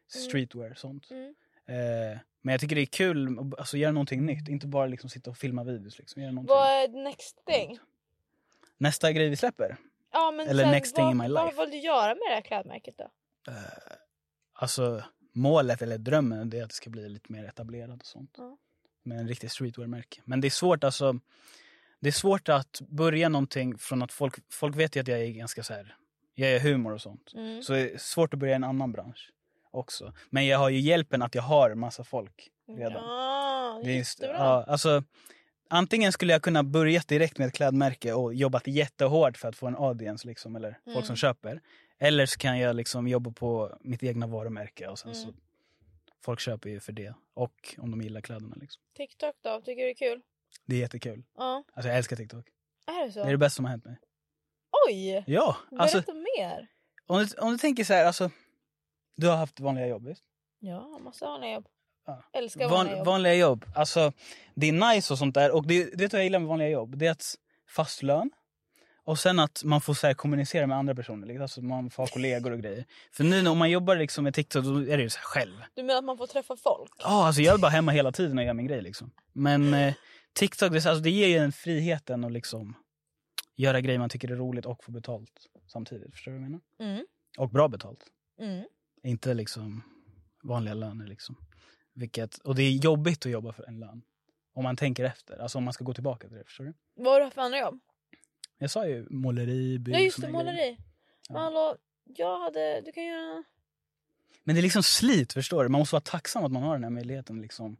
B: Streetwear och sånt.
A: Mm.
B: Eh, men jag tycker det är kul att alltså, göra någonting nytt. Inte bara liksom, sitta och filma videos. Liksom. Göra någonting.
A: Vad är next thing?
B: Nästa grej vi släpper.
A: Ja, men
B: Eller
A: sen,
B: next thing
A: vad,
B: in my
A: Vad
B: life.
A: vill du göra med det här klädmärket då?
B: eh, Alltså, målet eller drömmen det är att det ska bli lite mer etablerad och sånt.
A: Ja.
B: Med en riktig streetwear-märke. Men det är svårt alltså. Det är svårt att börja någonting från att folk, folk vet ju att jag är ganska så här. Jag gör humor och sånt.
A: Mm.
B: Så det är svårt att börja i en annan bransch också. Men jag har ju hjälpen att jag har massa folk redan.
A: Mm. Ja,
B: Det är just-
A: jättebra.
B: ja, alltså, antingen skulle jag kunna börjat direkt med ett klädmärke och jobbat jättehårt för att få en audience liksom, eller folk
A: Mm.
B: som köper. Eller så kan jag liksom jobba på mitt egna varumärke och sen
A: Mm.
B: så folk köper ju för det och om de gillar kläderna. Liksom.
A: TikTok då, tycker du det är kul?
B: Det är jättekul.
A: Ja,
B: Alltså, jag älskar TikTok.
A: är det så?
B: Det är det bästa som har hänt mig.
A: Oj!
B: Ja, alltså
A: Berätta mer.
B: om du, om du tänker så här, alltså du har haft vanliga jobb visst?
A: Ja, massa vanliga jobb.
B: Ja.
A: Älskar
B: Van-
A: vanliga jobb.
B: vanliga jobb. Alltså, det är nice och sånt där. Och det, det vet du vad jag gillar med vanliga jobb? Det är att fast lön. Och sen att man får så här kommunicera med andra personer. Liksom. Alltså, man får ha kollegor och grejer. För nu när man jobbar liksom med TikTok då är det ju så här själv.
A: Du menar att man får träffa folk?
B: Ja, alltså, jag är bara hemma hela tiden och gör min grej. Liksom. Men eh, TikTok det, är så- alltså, det ger ju en friheten att liksom göra grejer man tycker är roligt och få betalt samtidigt. Förstår du vad jag menar?
A: Mm.
B: Och bra betalt.
A: Mm.
B: Inte liksom vanliga löner. Liksom. Vilket, och det är jobbigt att jobba för en lön. Om man tänker efter. Alltså om man ska gå tillbaka till det. Förstår du?
A: Vad har du haft för andra jobb?
B: Jag sa ju måleri, bygg.
A: Ja just
B: såna
A: det,
B: grejer.
A: måleri. Men hallå, jag hade... Du kan göra...
B: Men det är liksom slit, förstår du? Man måste vara tacksam att man har den här möjligheten. Liksom,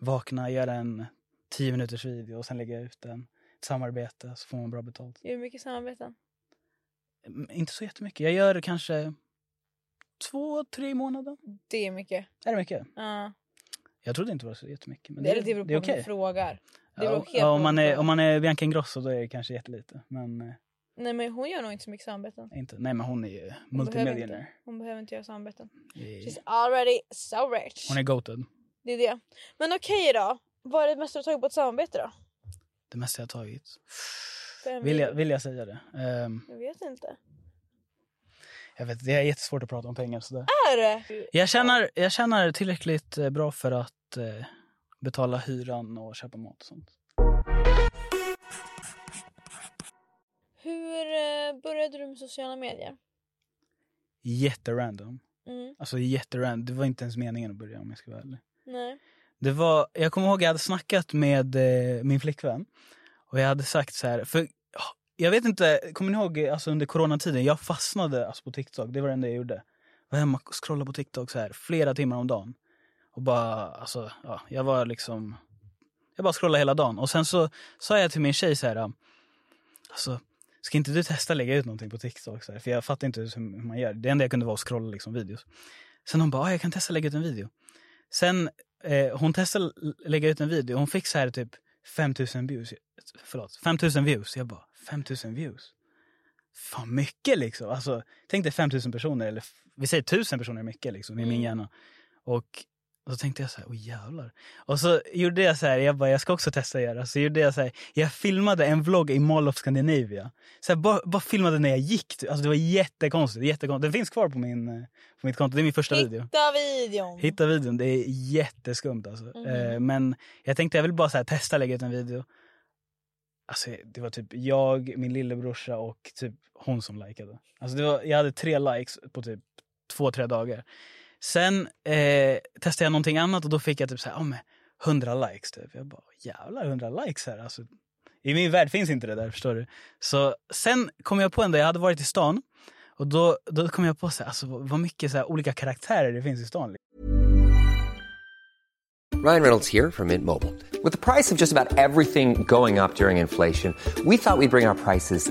B: vakna, göra en tio minuters video och sen lägga ut den. Ett samarbete, så får man bra betalt.
A: Gör mycket samarbeten.
B: Mm, Inte så jättemycket. Jag gör kanske två, tre månader.
A: Det är mycket.
B: Är det mycket?
A: Ja.
B: Jag trodde inte det var så jättemycket. Men
A: det,
B: det,
A: eller det beror på
B: det är
A: vem
B: okej.
A: du frågar. Det beror
B: Ja,
A: helt
B: ja, om,
A: på
B: man
A: vem du
B: är, om
A: frågar.
B: man är Bianca Ingrosso då är det kanske jättelite. Men eh,
A: Nej men hon gör nog inte så mycket samarbeten.
B: inte. Nej men hon är ju
A: Hon behöver,
B: multimillionaire.
A: inte, hon behöver inte göra samarbeten.
B: Eh,
A: She's already so rich.
B: Hon är goated.
A: Det är det. Men okej då. Vad är det mesta du tagit på ett samarbete då?
B: Det mesta jag har tagit.
A: För en
B: Vill jag,
A: video?
B: vill jag säga det? Ehm,
A: Jag vet inte.
B: jag vet, det är jättesvårt att prata om pengar sådär.
A: Är det?
B: Jag tjänar, jag tjänar tillräckligt eh, bra för att eh, betala hyran och köpa mat och sånt.
A: Hur eh, började du med sociala medier?
B: Jätterandom.
A: Mm,
B: Alltså jätterandom. Det var inte ens meningen att börja om jag ska vara ärlig.
A: nej.
B: Det var, jag kommer ihåg jag hade snackat med eh, min flickvän och jag hade sagt så här, för ja, jag vet inte, kommer ni ihåg eh, alltså, under coronatiden, jag fastnade alltså, på TikTok, det var det enda jag gjorde. Var hemma och scrollade på TikTok så här flera timmar om dagen. Och bara, alltså, ja, jag var liksom, jag bara scrollade hela dagen. Och sen så sa jag till min tjej så här, ja, alltså ska inte du testa lägga ut någonting på TikTok? Så här, för jag fattar inte hur hur man gör. Det enda jag kunde var att scrolla liksom, videos. Sen hon bara, ah, jag kan testa lägga ut en video. Sen eh, hon testade l- lägga ut en video. Hon fick så här typ 5000 views. Förlåt, 5000 views. Jag bara 5000 views. Fan mycket liksom. Alltså, tänk dig 5000 personer eller f- vi säger 1000 personer är mycket liksom i min hjärna. Och, och så tänkte jag så här, åh jävlar. Och så gjorde jag så här, jag bara jag ska också testa att göra. Så gjorde jag så här, jag filmade en vlogg i Mall of Scandinavia. Så här, bara, bara filmade när jag gick. typ. Alltså det var jättekonstigt, jättekonstigt. Den finns kvar på, min, eh, på mitt konto. Det är min första video.
A: Hitta videon.
B: Hitta videon, det är jätteskumt alltså. Eh, men jag tänkte jag vill bara så här, testa lägga ut en video. Alltså, det var typ jag, min lillebrorsa och typ hon som likade. Alltså, det var, jag hade tre likes på typ två, tre dagar. Sen eh, testade jag någonting annat och då fick jag typ så här, ja, men 100 likes. Typ. Jag bara, jävlar 100 likes här. Alltså, I min värld finns inte det där, förstår du. Så sen kom jag på en dag, jag hade varit i stan och då, då kom jag på så här, alltså, vad mycket så här, olika karaktärer det finns i stan.
E: Ryan Reynolds here from Mint Mobile. With the price of just about everything going up during inflation, we thought we'd bring our prices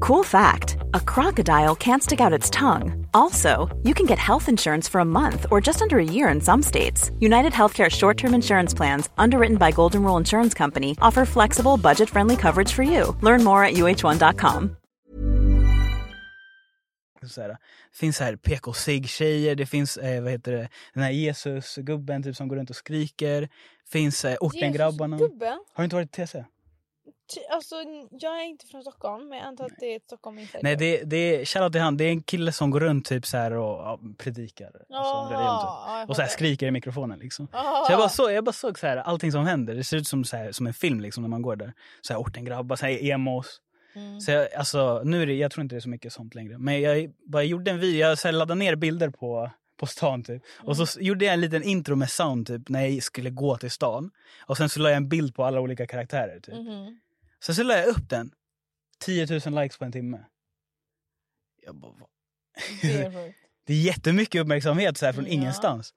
F: Cool fact a crocodile can't stick out its tongue. Also, you can get health insurance for a month or just under a year in some states. United Healthcare short term insurance plans, underwritten by Golden Rule Insurance Company, offer flexible, budget friendly coverage for you. Learn more at uh1.com.
B: Så här, det finns så här pk sig tjejer det finns eh, vad heter det, den här Jesus-gubben typ, som går runt och skriker. finns eh, ortengrabbarna.
A: Gubben?
B: Har du inte varit i TC?
A: Ty- Alltså jag är inte från Stockholm men jag antar att det är ett Stockholm insider.
B: Nej, det, det är shoutout till han. Det är en kille som går runt typ så här och ja, predikar. Alltså, det är
A: Jaha,
B: typ.
A: ja, jag
B: och så här
A: fattar.
B: skriker i mikrofonen liksom.
A: Jaha.
B: Så jag bara, så, jag bara såg så här, allting som händer. Det ser ut som, så här, som en film liksom när man går där. Så här ortengrabbar, så här emos. Så jag, alltså, nu är det, jag tror inte det är så mycket sånt längre. Men jag bara gjorde en video, jag så här, laddade ner bilder på, på stan typ. Och så s- gjorde jag en liten intro med sound typ när jag skulle gå till stan. Och sen så la jag en bild på alla olika karaktärer typ. [LAUGHS]
A: Mhm.
B: Sen så la jag upp den. 10 000 likes på en timme. Jag bara, "Va?"
A: Det är sjukt.
B: det är jättemycket uppmärksamhet så här från
A: Ja.
B: ingenstans.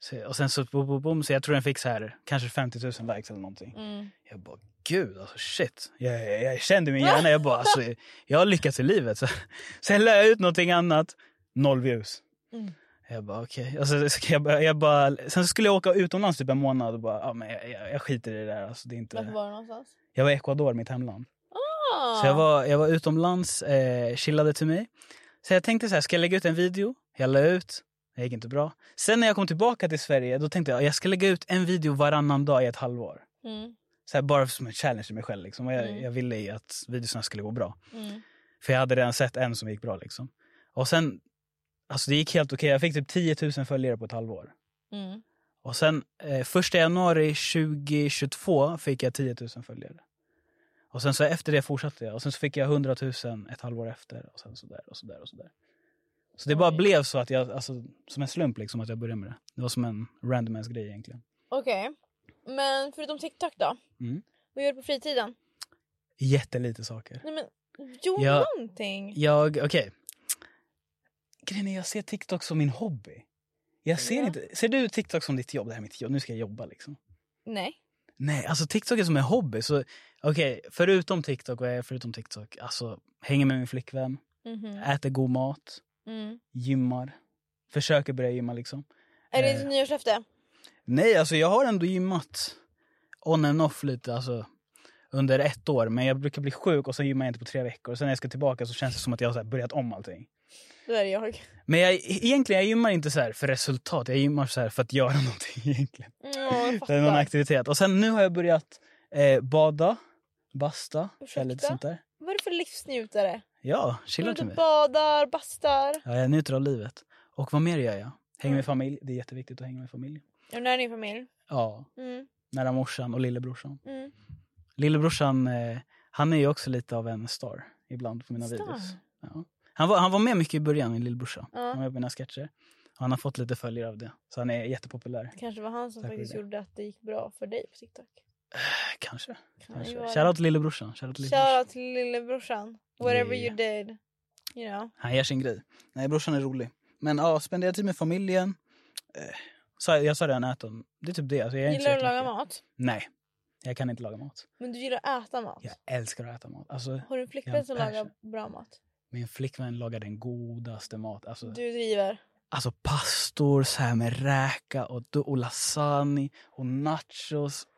B: Så, och sen så, boom, boom, boom, så jag tror den fick så här, kanske 50 000 likes eller någonting.
A: Mm.
B: Jag bara, gud alltså shit. Jag, jag, jag kände i min hjärna, jag bara, alltså, jag har lyckats i livet. Så, [LAUGHS] sen la jag ut någonting annat, noll views.
A: Mm.
B: Jag bara okej. Och så- så kan jag, bara- jag bara, sen så skulle jag åka utomlands typ en månad och bara, ja men jag, jag, jag skiter i det där. Alltså, det är
A: Varför
B: inte...
A: var det någonstans?
B: Jag var i Ecuador, mitt hemland.
A: Ah.
B: Så jag var, jag var utomlands, eh, chillade till mig. Så jag tänkte så här, ska jag lägga ut en video? Jag la ut, det gick inte bra. Sen när jag kom tillbaka till Sverige, då tänkte jag jag ska lägga ut en video varannan dag i ett halvår.
A: Mm.
B: Så här, bara som en challenge till mig själv. Liksom. Och jag,
A: Mm.
B: jag ville ju att videorna skulle gå bra.
A: Mm.
B: För jag hade redan sett en som gick bra. Liksom. Och sen, alltså det gick helt okej. Jag fick typ 10 000 följare på ett halvår.
A: Mm.
B: Och sen eh, första januari 2022 fick jag 10 000 följare. Och sen så efter det fortsatte jag. Och sen så fick jag 100 000 ett halvår efter. Och sen så där och så där och så där. Så det bara
A: Oj.
B: blev så att jag, alltså som en slump liksom att jag började med det. Det var som en random ass grej egentligen.
A: Okej. Men förutom TikTok då?
B: Mm.
A: Vad gör du på fritiden?
B: Jättelite saker.
A: Nej men gör
B: Jag-
A: någonting.
B: Jag, okej. Grejen är jag ser TikTok som min hobby. Jag ser
A: Ja.
B: inte, ser du TikTok som ditt jobb? Det här är mitt jobb, nu ska jag jobba liksom.
A: Nej.
B: Nej, alltså TikTok är som en hobby. Så okej, förutom TikTok, vad är jag förutom TikTok? Alltså, hänger med min flickvän,
A: Mhm.
B: äter god mat,
A: Mm.
B: gymmar. Försöker börja gymma liksom.
A: Är det
B: Eh.
A: ditt nyårslöfte?
B: Nej, alltså jag har ändå gymmat on and off lite, alltså under ett år. Men jag brukar bli sjuk och sen gymmar jag inte på tre veckor. Och sen när jag ska tillbaka så känns det som att jag har så här börjat om allting.
A: Det där är jag. [LAUGHS]
B: Men jag, egentligen, jag gymmar inte så här för resultat. Jag gymmar så här för att göra [LAUGHS] någonting egentligen.
A: Mm, jag
B: Det är någon
A: fattar.
B: aktivitet. Och sen nu har jag börjat eh, bada, basta,
A: Ursäkta?
B: eller lite sånt där.
A: Vad är det för livsnjutare?
B: Ja,
A: Går
B: chillar
A: ut
B: till
A: och
B: mig.
A: badar, bastar.
B: Ja, jag njuter av livet. Och vad mer gör jag? Hänger
A: Mm.
B: med familj. Det är jätteviktigt att hänga med familj.
A: Är nära din familj?
B: Ja,
A: Mm.
B: nära morsan och lillebrorsan.
A: Mm.
B: Lillebrorsan, eh, han är ju också lite av en star ibland på mina
A: Star?
B: videos. Ja. Han, var, han var med mycket i början, min lillebrorsa.
A: Ja.
B: Han var med på mina sketcher. Och han har fått lite följare av det. Så han är jättepopulär.
A: Det kanske var han som
B: Tack för
A: faktiskt
B: det.
A: gjorde att det gick bra för dig på TikTok.
B: Eh, Kanske.
A: Kan ju
B: kanske.
A: vara
B: Shoutout till lillebrorsan. Shoutout till lillebrorsan.
A: Shoutout till lillebrorsan. Whatever you
B: Yeah.
A: did. You know.
B: Han gör sin grej. Nej, brorsan är rolig. Men ja, spenderar tid med familjen. Eh, sa- jag sa redan äta. Det är typ det. Alltså, jag är inte så
A: Gillar du att laga
B: jättemycket.
A: mat?
B: Nej, jag kan inte laga mat.
A: Men du gillar att äta mat?
B: Jag älskar att äta mat. Alltså,
A: Har du en
B: Jag är
A: flickvän
B: en
A: som
B: passion.
A: lagar bra mat?
B: min flickvän lagar den godaste mat. Alltså,
A: Du driver.
B: alltså pastor så här med räka och, do- och lasagne och nachos.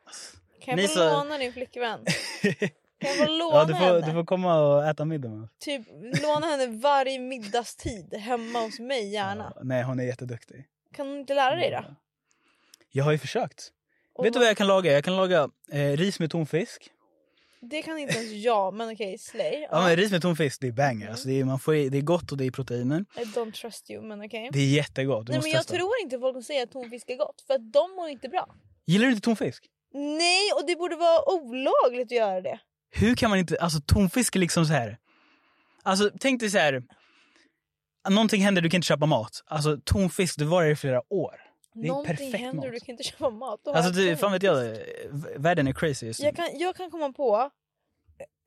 B: Alltså,
A: Kan
B: Ni
A: jag få
B: så-
A: låna din
B: [LAUGHS]
A: flickvän? Kan jag få låna
B: ja, du, får,
A: henne?
B: du får komma och äta middag med oss.
A: Typ låna henne varje middagstid hemma hos mig gärna.
B: Ja, nej, hon är jätteduktig.
A: Kan hon inte lära dig då?
B: Jag har ju försökt.
A: Och
B: Vet du
A: vad-
B: vad jag kan laga? Jag kan laga eh, ris med tonfisk.
A: Det kan inte ens jag men okej, slay.
B: Ja,
A: Ja.
B: men ris med tonfisk, det är banger.
A: Mm.
B: Alltså, det, är, man får, i- det är gott och det är proteiner.
A: I don't trust you men okej.
B: Det är jättegott. Du
A: Mm. Nej
B: måste
A: men jag
B: testa.
A: tror inte folk säger att tonfisk är gott för att de mår inte bra.
B: Gillar du inte tonfisk?
A: Nej och det borde vara olagligt att göra det.
B: Hur kan man inte... Alltså tonfisk är liksom så här... Alltså tänk dig så här. Någonting händer, du kan inte köpa mat. Alltså tonfisk, det varar i flera år. Det är
A: Någonting
B: perfekt
A: händer
B: mat.
A: du kan inte köpa mat. Då har
B: Alltså
A: jag
B: det, fan vet jag,
A: tonfisk.
B: v- världen är crazy just nu.
A: Jag kan, jag kan komma på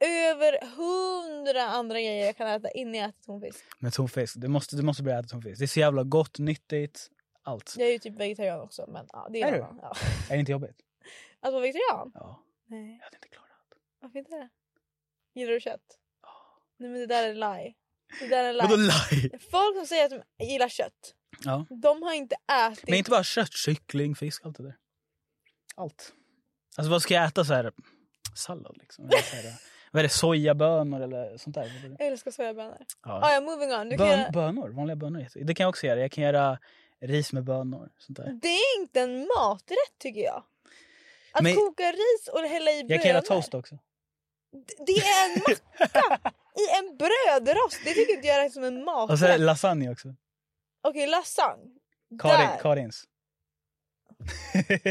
A: över hundra andra grejer jag kan äta innan jag äter tonfisk.
B: Med tonfisk, du måste, du måste börja äta tonfisk. Det är så jävla gott, nyttigt, allt.
A: Jag är ju typ vegetarian också men ja, det är,
B: Är
A: en
B: du?
A: annan. Ja.
B: Är det inte jobbigt?
A: Att vara vegetarian?
B: Ja,
A: Nej,
B: jag hade inte klarat det.
A: varför inte det? Gillar du kött? Nej men det där är lie. Det där är
B: Ah. Vadå
A: lie.
B: laj?
A: Folk som säger att de gillar kött,
B: Ja.
A: de har inte ätit.
B: Men inte bara kött, kyckling, fisk, allt det där. Allt. Alltså vad ska jag äta så här? Sallad liksom. Eller så här, [LAUGHS] vad är det, sojabönor eller sånt där? Vad är det?
A: Jag älskar sojabönor. Ah,
B: Ja.
A: ja, moving on. Du kan
B: Bön,
A: göra...
B: bönor, vanliga bönor. är jätte- Det kan jag också göra. Jag kan göra ris med bönor. Sånt där.
A: Det är inte en maträtt tycker jag. Att
B: Men-
A: koka ris och hälla i bönor.
B: Jag kan göra toast också.
A: D- Det är en macka i en brödrost. Det tycker inte jag är som en
B: Och så
A: maträtt.
B: lasagne också.
A: Okej, lasagne.
B: Karin,
A: Där.
B: Karins.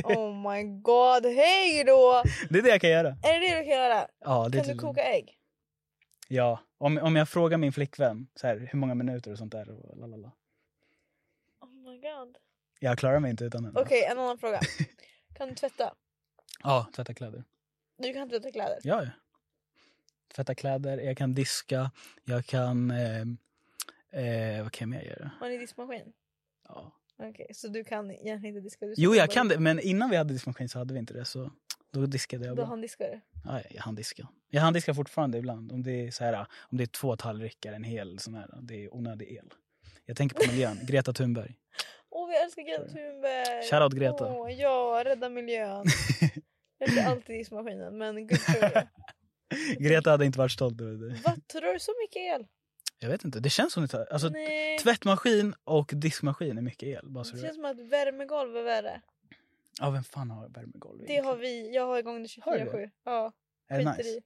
A: Oh my god, hej då!
B: Det är det jag kan göra.
A: Är det det du kan göra?
B: Ja, det är
A: Kan du
B: typ-
A: koka ägg?
B: Ja, om, om jag frågar min flickvän så här, hur många minuter och sånt där. Och lalala.
A: Oh my god.
B: Jag klarar mig inte utan henne.
A: Okej, en annan
B: [LAUGHS]
A: fråga. Kan du tvätta?
B: Ja, tvätta kläder.
A: Du kan tvätta kläder.
B: Ja, ja. Tvätta kläder, jag kan diska, jag kan... Eh, eh, vad kan jag mer göra?
A: Har ni diskmaskin?
B: Ja.
A: Okej, så du kan egentligen inte diska? Du
B: Jo, jag kan det, men innan vi hade diskmaskin så hade vi inte det. Så då diskade jag
A: Då
B: bra.
A: handdiskar du?
B: Ja, jag hann diska. Jag hann diska fortfarande ibland. Om det är, så här, om det är två tallrikar, en hel sån här. Det är onödig el. Jag tänker
A: [LAUGHS]
B: på miljön. Greta Thunberg.
A: Åh, vi älskar Greta Thunberg!
B: Shoutout Greta.
A: Åh, ja, rädda
B: [LAUGHS]
A: miljön. jag älskar alltid diskmaskinen, men gud tror
B: [LAUGHS]
A: jag.
B: Greta hade inte varit stolt över det.
A: Vad tror du så mycket el?
B: Jag vet inte, det känns som det tar... Alltså,
A: Nej.
B: tvättmaskin och diskmaskin är mycket el. Bara så
A: Det
B: du
A: känns
B: vet.
A: som att värmegolv är värre.
B: Ja, vem fan har värmegolv?
A: Det har vi. Jag har igång det
B: Har du det?
A: 24-7. Ja,
B: Är det
A: skiter
B: nice?
A: i.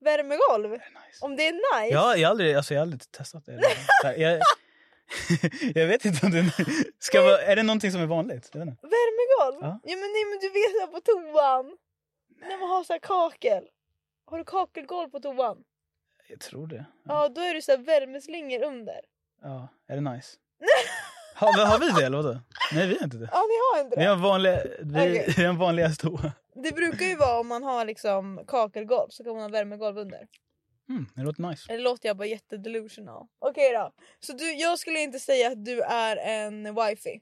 A: Värmegolv?
B: Är det nice?
A: Om det är nice?
B: Ja, jag har aldrig, alltså, jag har aldrig testat det. Så här, jag, [LAUGHS] jag vet inte om det ska vara, är det någonting som är vanligt. Jag vet inte.
A: Värmegolv?
B: Ja.
A: Ja. men nej men du vet såhär på toan. När man har såhär kakel. Har du kakelgolv på toan?
B: Jag tror det.
A: Ja då är det såhär värmeslingor under.
B: Ja, är det
A: [LAUGHS]
B: nice? Har, har vi det eller vadå? Nej, vi har inte det.
A: Ja ni har inte
B: Vi
A: det?
B: har en vanlig, vi,
A: Okej.
B: vi har en vanlig toa.
A: Det brukar ju vara om man har liksom kakelgolv så kan man ha värmegolv under.
B: Mm, det låter nice.
A: Eller låter jag bara jättedelusional? Okej då. Så du, jag skulle inte säga att du är en wifi.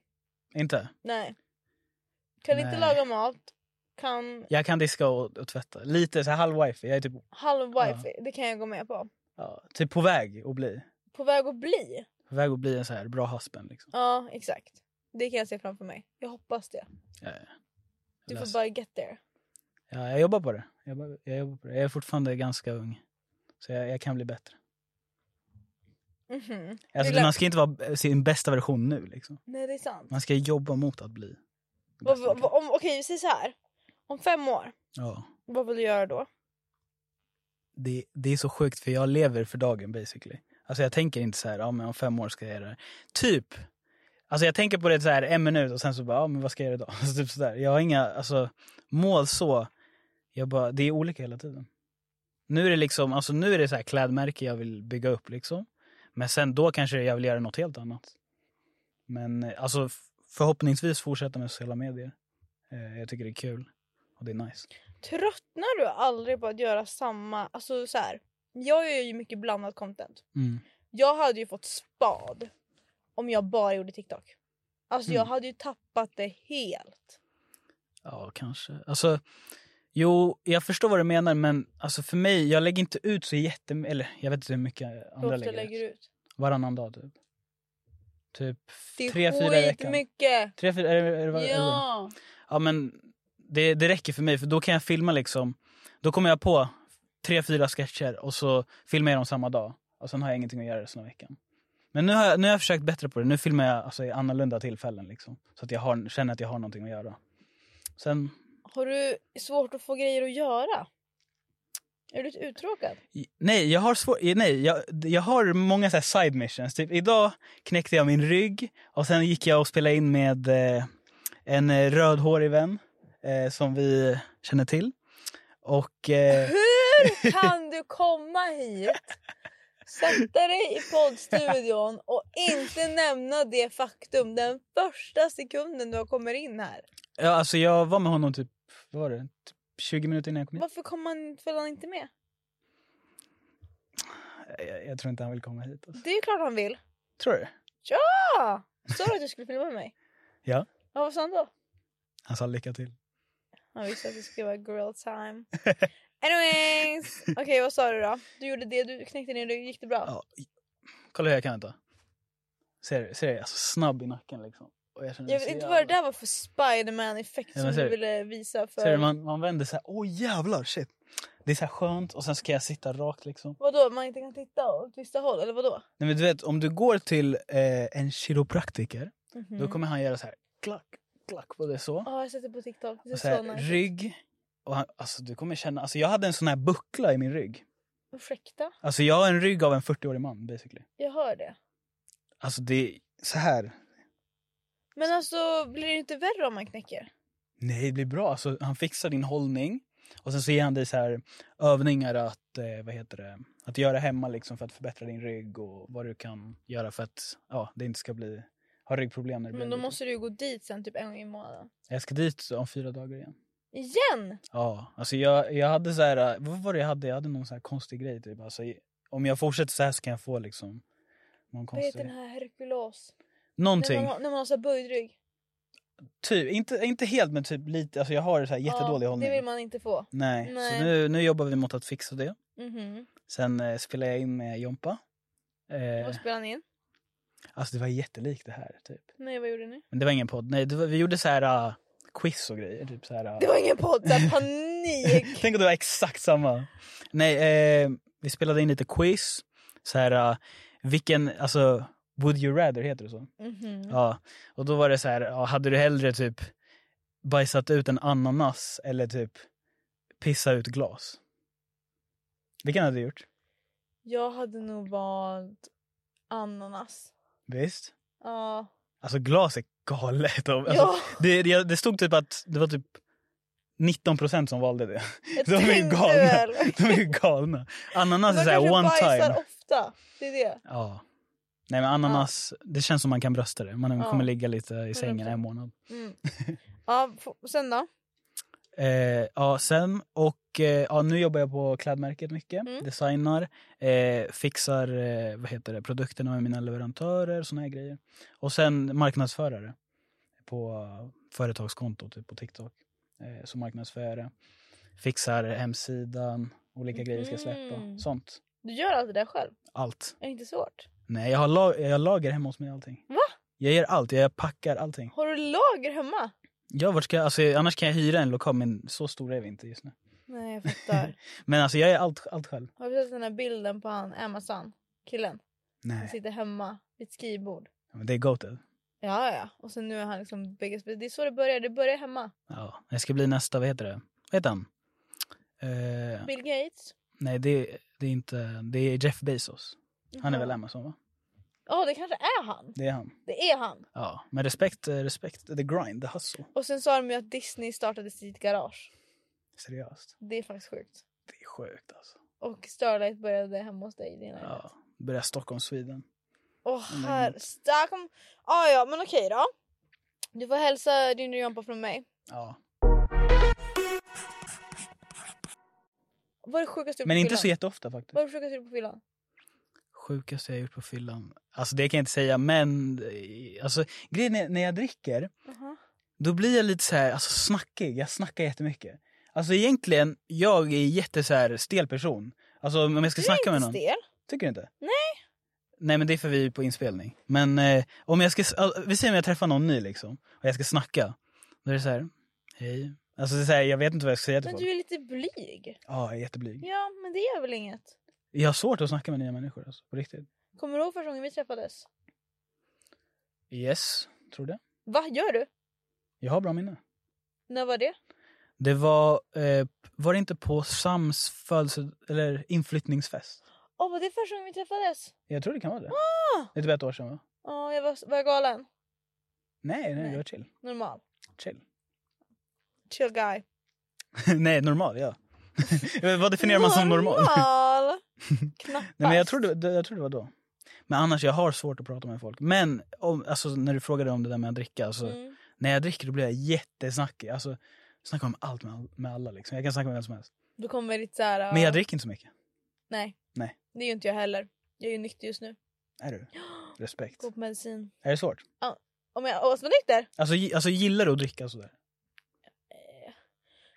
B: Inte?
A: Nej. Kan inte
B: Nej.
A: laga mat. Kan
B: Jag kan diska och, och tvätta. Lite så här halv wifi. Jag är typ,
A: halv wifi. Det kan jag gå med på.
B: ja, typ på väg att bli.
A: På väg att bli.
B: På väg att bli en så här bra husband liksom.
A: Ja exakt. Det kan jag se framför mig. Jag hoppas det.
B: Ja, ja.
A: Du
B: Lös.
A: får bara get there.
B: Ja, jag jobbar på det. Jag, jobbar- jag, jobbar på det. jag är fortfarande ganska ung. Så jag, jag kan bli bättre.
A: Mhm.
B: Alltså,
A: Det lät-
B: man ska inte vara sin bästa version nu. Liksom.
A: Nej det är sant.
B: Man ska jobba mot att bli.
A: Vad- vad- vad- om- Okej vi säger så här. Om fem år,
B: Ja.
A: vad vill du göra då?
B: Det, det är så sjukt för jag lever för dagen basically. Alltså jag tänker inte så här, ja men om fem år ska jag göra det. Typ. Alltså jag tänker på det så här en minut och sen så bara, ja men vad ska jag göra idag? [LAUGHS] Alltså, typ så där. Jag har inga alltså, mål så. Jag bara, det är olika hela tiden. Nu är det liksom, alltså nu är det så här klädmärke jag vill bygga upp liksom. Men sen då kanske jag vill göra något helt annat. Men eh, alltså f- förhoppningsvis fortsätta med sociala medier. Eh, Jag tycker det är kul och det är nice.
A: Tröttnar du aldrig på att göra samma, alltså så här. Jag gör ju mycket blandat content.
B: Mm.
A: Jag hade ju fått spad om jag bara gjorde TikTok. Alltså
B: Mm.
A: jag hade ju tappat det helt.
B: Ja, kanske. Alltså, jo, jag förstår vad du menar, men alltså för mig, jag lägger inte ut så jättem... Eller jag vet inte hur mycket
A: Hur
B: andra
A: ofta
B: lägger,
A: lägger du
B: ut.
A: ut?
B: Varannan dag typ. Typ
A: Det är
B: tre, fyra i veckan.
A: mycket.
B: Tre, fyra, är det, är det, var- eller-
A: Ja.
B: ja, men det, det räcker för mig, för då kan jag filma liksom. Då kommer jag på tre, fyra sketcher och så filmar jag dem samma dag. Och sen har jag ingenting att göra resten av veckan. Men nu har, jag, nu har jag försökt bättre på det. Nu filmar jag alltså, i annorlunda tillfällen liksom. Så att jag har, känner att jag har någonting att göra. Sen
A: Har du svårt att få grejer att göra? Är du lite
B: [LAUGHS]
A: uttråkad?
B: Nej, jag har, svår, nej, jag, jag har många så här side missions. Typ, idag knäckte jag min rygg och sen gick jag och spelade in med eh, en eh, rödhårig vän eh, som vi känner till. Och eh,
A: Hur kan du komma hit Sätta dig i poddstudion och inte nämna det faktum den första sekunden du kommer in här.
B: Ja, alltså jag var med honom typ, vad var det, typ 20 minuter innan jag kom hit.
A: Varför kom han, föll han inte med?
B: Eh, Jag, jag tror inte han vill komma hit. Alltså.
A: Det är ju klart han vill.
B: Tror du?
A: Ja! Sa du att du skulle filma med mig?
B: Ja.
A: Ja, vad sa han då?
B: Han sa lycka till.
A: Han visste att det skulle vara girl
B: [LAUGHS]
A: time. Anyways! Okej, vad sa du då? Du gjorde det, du knäckte ner, det gick det bra?
B: Ja. Kolla hur jag kan vänta. Ser du? Ser du? Alltså snabb i nacken liksom. Och jag, känner
A: Jag
B: mig
A: vet
B: så
A: inte vad det
B: jävla-
A: där var för Spiderman-effekt
B: Ja,
A: som
B: men ser
A: du
B: du?
A: ville visa för...
B: Ser du? Man, man vänder så här, åh jävlar shit. Det är så här skönt och sen ska jag sitta rakt liksom.
A: Vadå, man inte kan titta åt vissa håll? Eller vadå?
B: Nej men du vet om du går till eh, en kiropraktiker då kommer han göra så här klack, klack på det så.
A: Mm. Ja, jag har sett det på TikTok. Det är
B: Och
A: så
B: så här,
A: såna-
B: rygg. Och han, alltså du kommer känna, alltså jag hade en sån här buckla i min rygg.
A: Ursäkta?
B: Alltså jag har en rygg av en 40-årig man basically.
A: Jag hör det.
B: Alltså det är så här.
A: Men alltså, blir det inte värre om man knäcker?
B: Nej det blir bra. Alltså han fixar din hållning. Och sen så ger han dig så här övningar att, eh, vad heter det, att göra hemma liksom för att förbättra din rygg och vad du kan göra för att, ja det inte ska bli, ha ryggproblem när du blir
A: Men då
B: äldre.
A: måste du ju gå dit sen typ en gång i månaden.
B: Jag ska dit om fyra dagar igen.
A: Igen!
B: Ja, alltså jag, jag hade så här, vad var det jag hade? Jag hade någon så här konstig grej typ. Alltså, om jag fortsätter så här så kan jag få liksom någon
A: Vad heter
B: konstig...
A: den här herkulos? När
B: Någonting.
A: man, har- när man har så här böjd rygg.
B: Typ, inte, inte helt men typ lite. Alltså jag har så här jättedålig
A: ja,
B: hållning.
A: Det vill man inte få.
B: Nej,
A: Nej.
B: så nu, nu jobbar vi mot att fixa det.
A: Mhm.
B: Sen eh, spelar jag in med Jompa. Eh,
A: Vad spelade ni in?
B: alltså det var jättelikt det här typ.
A: Nej, vad gjorde ni?
B: Men det var ingen podd. Nej, det var, vi gjorde så här ah, quiz och grejer. Typ så här, ah.
A: Det
B: [LAUGHS]
A: var ingen podd! Så här, [LAUGHS] panik!
B: Tänk om det var exakt samma. Nej, eh, vi spelade in lite quiz. Så här, eh, vilken, alltså Would you rather heter det så?
A: Mhm.
B: Ja, och då var det så här, ja, hade du hellre typ bajsat ut en ananas eller typ pissa ut glas? Vilken hade du gjort?
A: Jag hade nog valt ananas.
B: Visst?
A: Ja.
B: Alltså glas är galet. [LAUGHS] Alltså,
A: Ja.
B: det, det, det stod typ att det var typ 19% som valde det. [LAUGHS]
A: Jag
B: De är ju
A: tänkte
B: galna.
A: väl.
B: De är ju galna. [LAUGHS] Ananas är
A: Man
B: såhär
A: kanske
B: one
A: bajsar
B: time.
A: ofta. Det är det.
B: Ja. Nej men ananas, det känns som man kan brösta det. Man
A: Ja.
B: kommer ligga lite i sängen
A: 100%.
B: en månad. [LAUGHS]
A: Mm. Ja, f- sen då?
B: Eh, ja, sen och eh, ja, nu jobbar jag på klädmärket mycket.
A: Mm.
B: Designar, eh, fixar eh, vad heter det, produkterna med mina leverantörer, såna här grejer. Och sen marknadsförare på eh, företagskonto typ på TikTok. Eh, så marknadsförare, fixar hemsidan, olika grejer ska
A: Mhm.
B: släppa, sånt.
A: Du gör allt det där själv?
B: Allt.
A: Är det inte svårt?
B: Nej, jag har la- jag lager hemma hos mig allting.
A: Va?
B: Jag gör allt, jag packar allting.
A: Har du lager hemma?
B: Ja, vart ska jag, alltså, annars kan jag hyra en lokal, men så stor är vi inte just nu.
A: Nej jag fattar.
B: Men alltså jag gör allt, allt själv.
A: [LAUGHS] Har du sett den här bilden på han Amazon? Killen. Han
B: Nej,
A: sitter hemma vid ett skrivbord.
B: men det är goated.
A: Ja ja, ja. Och sen nu är han liksom biggest. Det är så det börjar. Det börjar hemma.
B: Ja, det ska bli nästa, vad heter det? Vad heter han? Eh,
A: Bill Gates.
B: nej, det, det är inte, det är Jeff Bezos. Han är
A: Jaha.
B: väl Amazon va?
A: Ja det kanske är han.
B: Det är han.
A: Det är han.
B: Ja, men respekt, eh, respekt, the grind, the hustle.
A: Och sen sa de ju att Disney startade sitt garage.
B: Seriöst,
A: Det är faktiskt sjukt.
B: det är sjukt alltså.
A: Och Starlight började hemma hos dig i din lägenhet.
B: Ja, börja Stockholm, Sweden.
A: Åh
B: Mm.
A: herr... Stockholm. Ah, ja men okej då. Du får hälsa din Jompa från mig.
B: Ja.
A: Vad är det sjukaste du gjort
B: Men
A: på
B: inte
A: fyllan?
B: så jätteofta faktiskt.
A: Vad är det sjukaste du gjort på fyllan?
B: Sjukaste jag gjort på fyllan? Alltså det kan jag inte säga men eh, alltså, grejen är när jag dricker då blir jag lite så här, alltså snackig, jag snackar jättemycket. Alltså egentligen, jag är jätte så här stel person. Alltså om jag ska snacka med någon.
A: Stel?
B: Tycker du inte? Nej. Nej men det är för vi är på inspelning. Men eh, om jag ska, alltså, vi säger om jag träffar någon ny liksom och jag ska snacka. Då är det så här, hej. Alltså det är så här, jag vet inte vad jag ska säga till
A: Men
B: folk.
A: du är lite blyg.
B: Ja, jag är jätteblyg.
A: Ja men det är väl inget.
B: Jag har svårt att snacka med nya människor alltså, på riktigt.
A: Kommer du ihåg första gången vi träffades?
B: Yes, tror det.
A: Va gör du?
B: Jag har bra minne.
A: När var det?
B: Det var, eh, var det inte på Sams födelse, eller inflyttningsfest?
A: Åh var det första gången vi träffades?
B: Jag tror det kan vara det.
A: Ah!
B: Det är typ ett år sedan va?
A: Ja jag var, var jag galen?
B: Nej, nej,
A: Nej.
B: det var chill.
A: Normal.
B: Chill. [LAUGHS]
A: Chill guy.
B: [LAUGHS] nej, normal ja. Vad definierar man som normal?
A: Normal! Knappast.
B: [LAUGHS] Nej, men jag tror, det, det- jag tror det var då. Men annars, jag har svårt att prata med folk. Men om, alltså, när du frågade om det där med att dricka. Alltså,
A: Mm.
B: När jag dricker då blir jag jättesnackig. Alltså, snackar om allt med, all- med alla. Liksom. Jag kan snacka med vem som helst.
A: Du kommer ditt så här,
B: Men jag dricker inte så mycket.
A: Nej.
B: Nej.
A: Det är ju inte jag heller. Jag är ju nykter just nu. [GASPS]
B: Är du? Respekt.
A: Går på medicin.
B: Är det svårt?
A: Om jag måste vara nykter?
B: Alltså, gi- alltså gillar du att dricka sådär?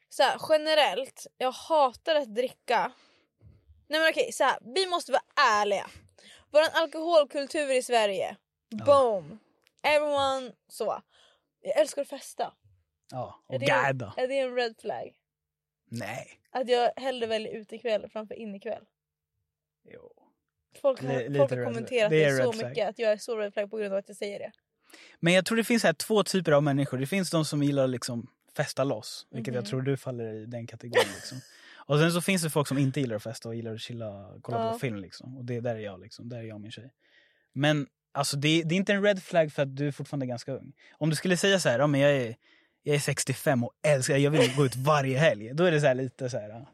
A: Så här, generellt, jag hatar att dricka. Nej men okej, så här, vi måste vara ärliga. Vår alkoholkultur i Sverige, boom! Everyone så. Jag älskar att festa.
B: Ja.
A: Är
B: Och
A: det, en,
B: gadda.
A: är det en red flag?
B: Nej.
A: Att jag hellre väljer utekväll framför innekväll?
B: Jo.
A: Folk
B: Li-
A: har,
B: lite
A: folk har
B: red-
A: kommenterat
B: det
A: det,
B: är
A: så
B: red flag.
A: mycket att jag är så red flag på grund av att jag säger det.
B: Men jag tror det finns här två typer av människor. Det finns de som gillar att liksom festa loss, vilket
A: Mhm.
B: jag tror du faller i den kategorin. Liksom. Och sen så finns det folk som inte gillar att festa och gillar att chilla och kolla
A: Ja.
B: på film. Liksom. Och det där är jag, liksom. där är jag och min tjej. Men alltså, det, det är inte en red flag för att du är fortfarande ganska ung. Om du skulle säga så här, ja, men jag, är, jag är 65 och älskar, jag vill gå ut varje helg. Då är det så här lite så här, ja.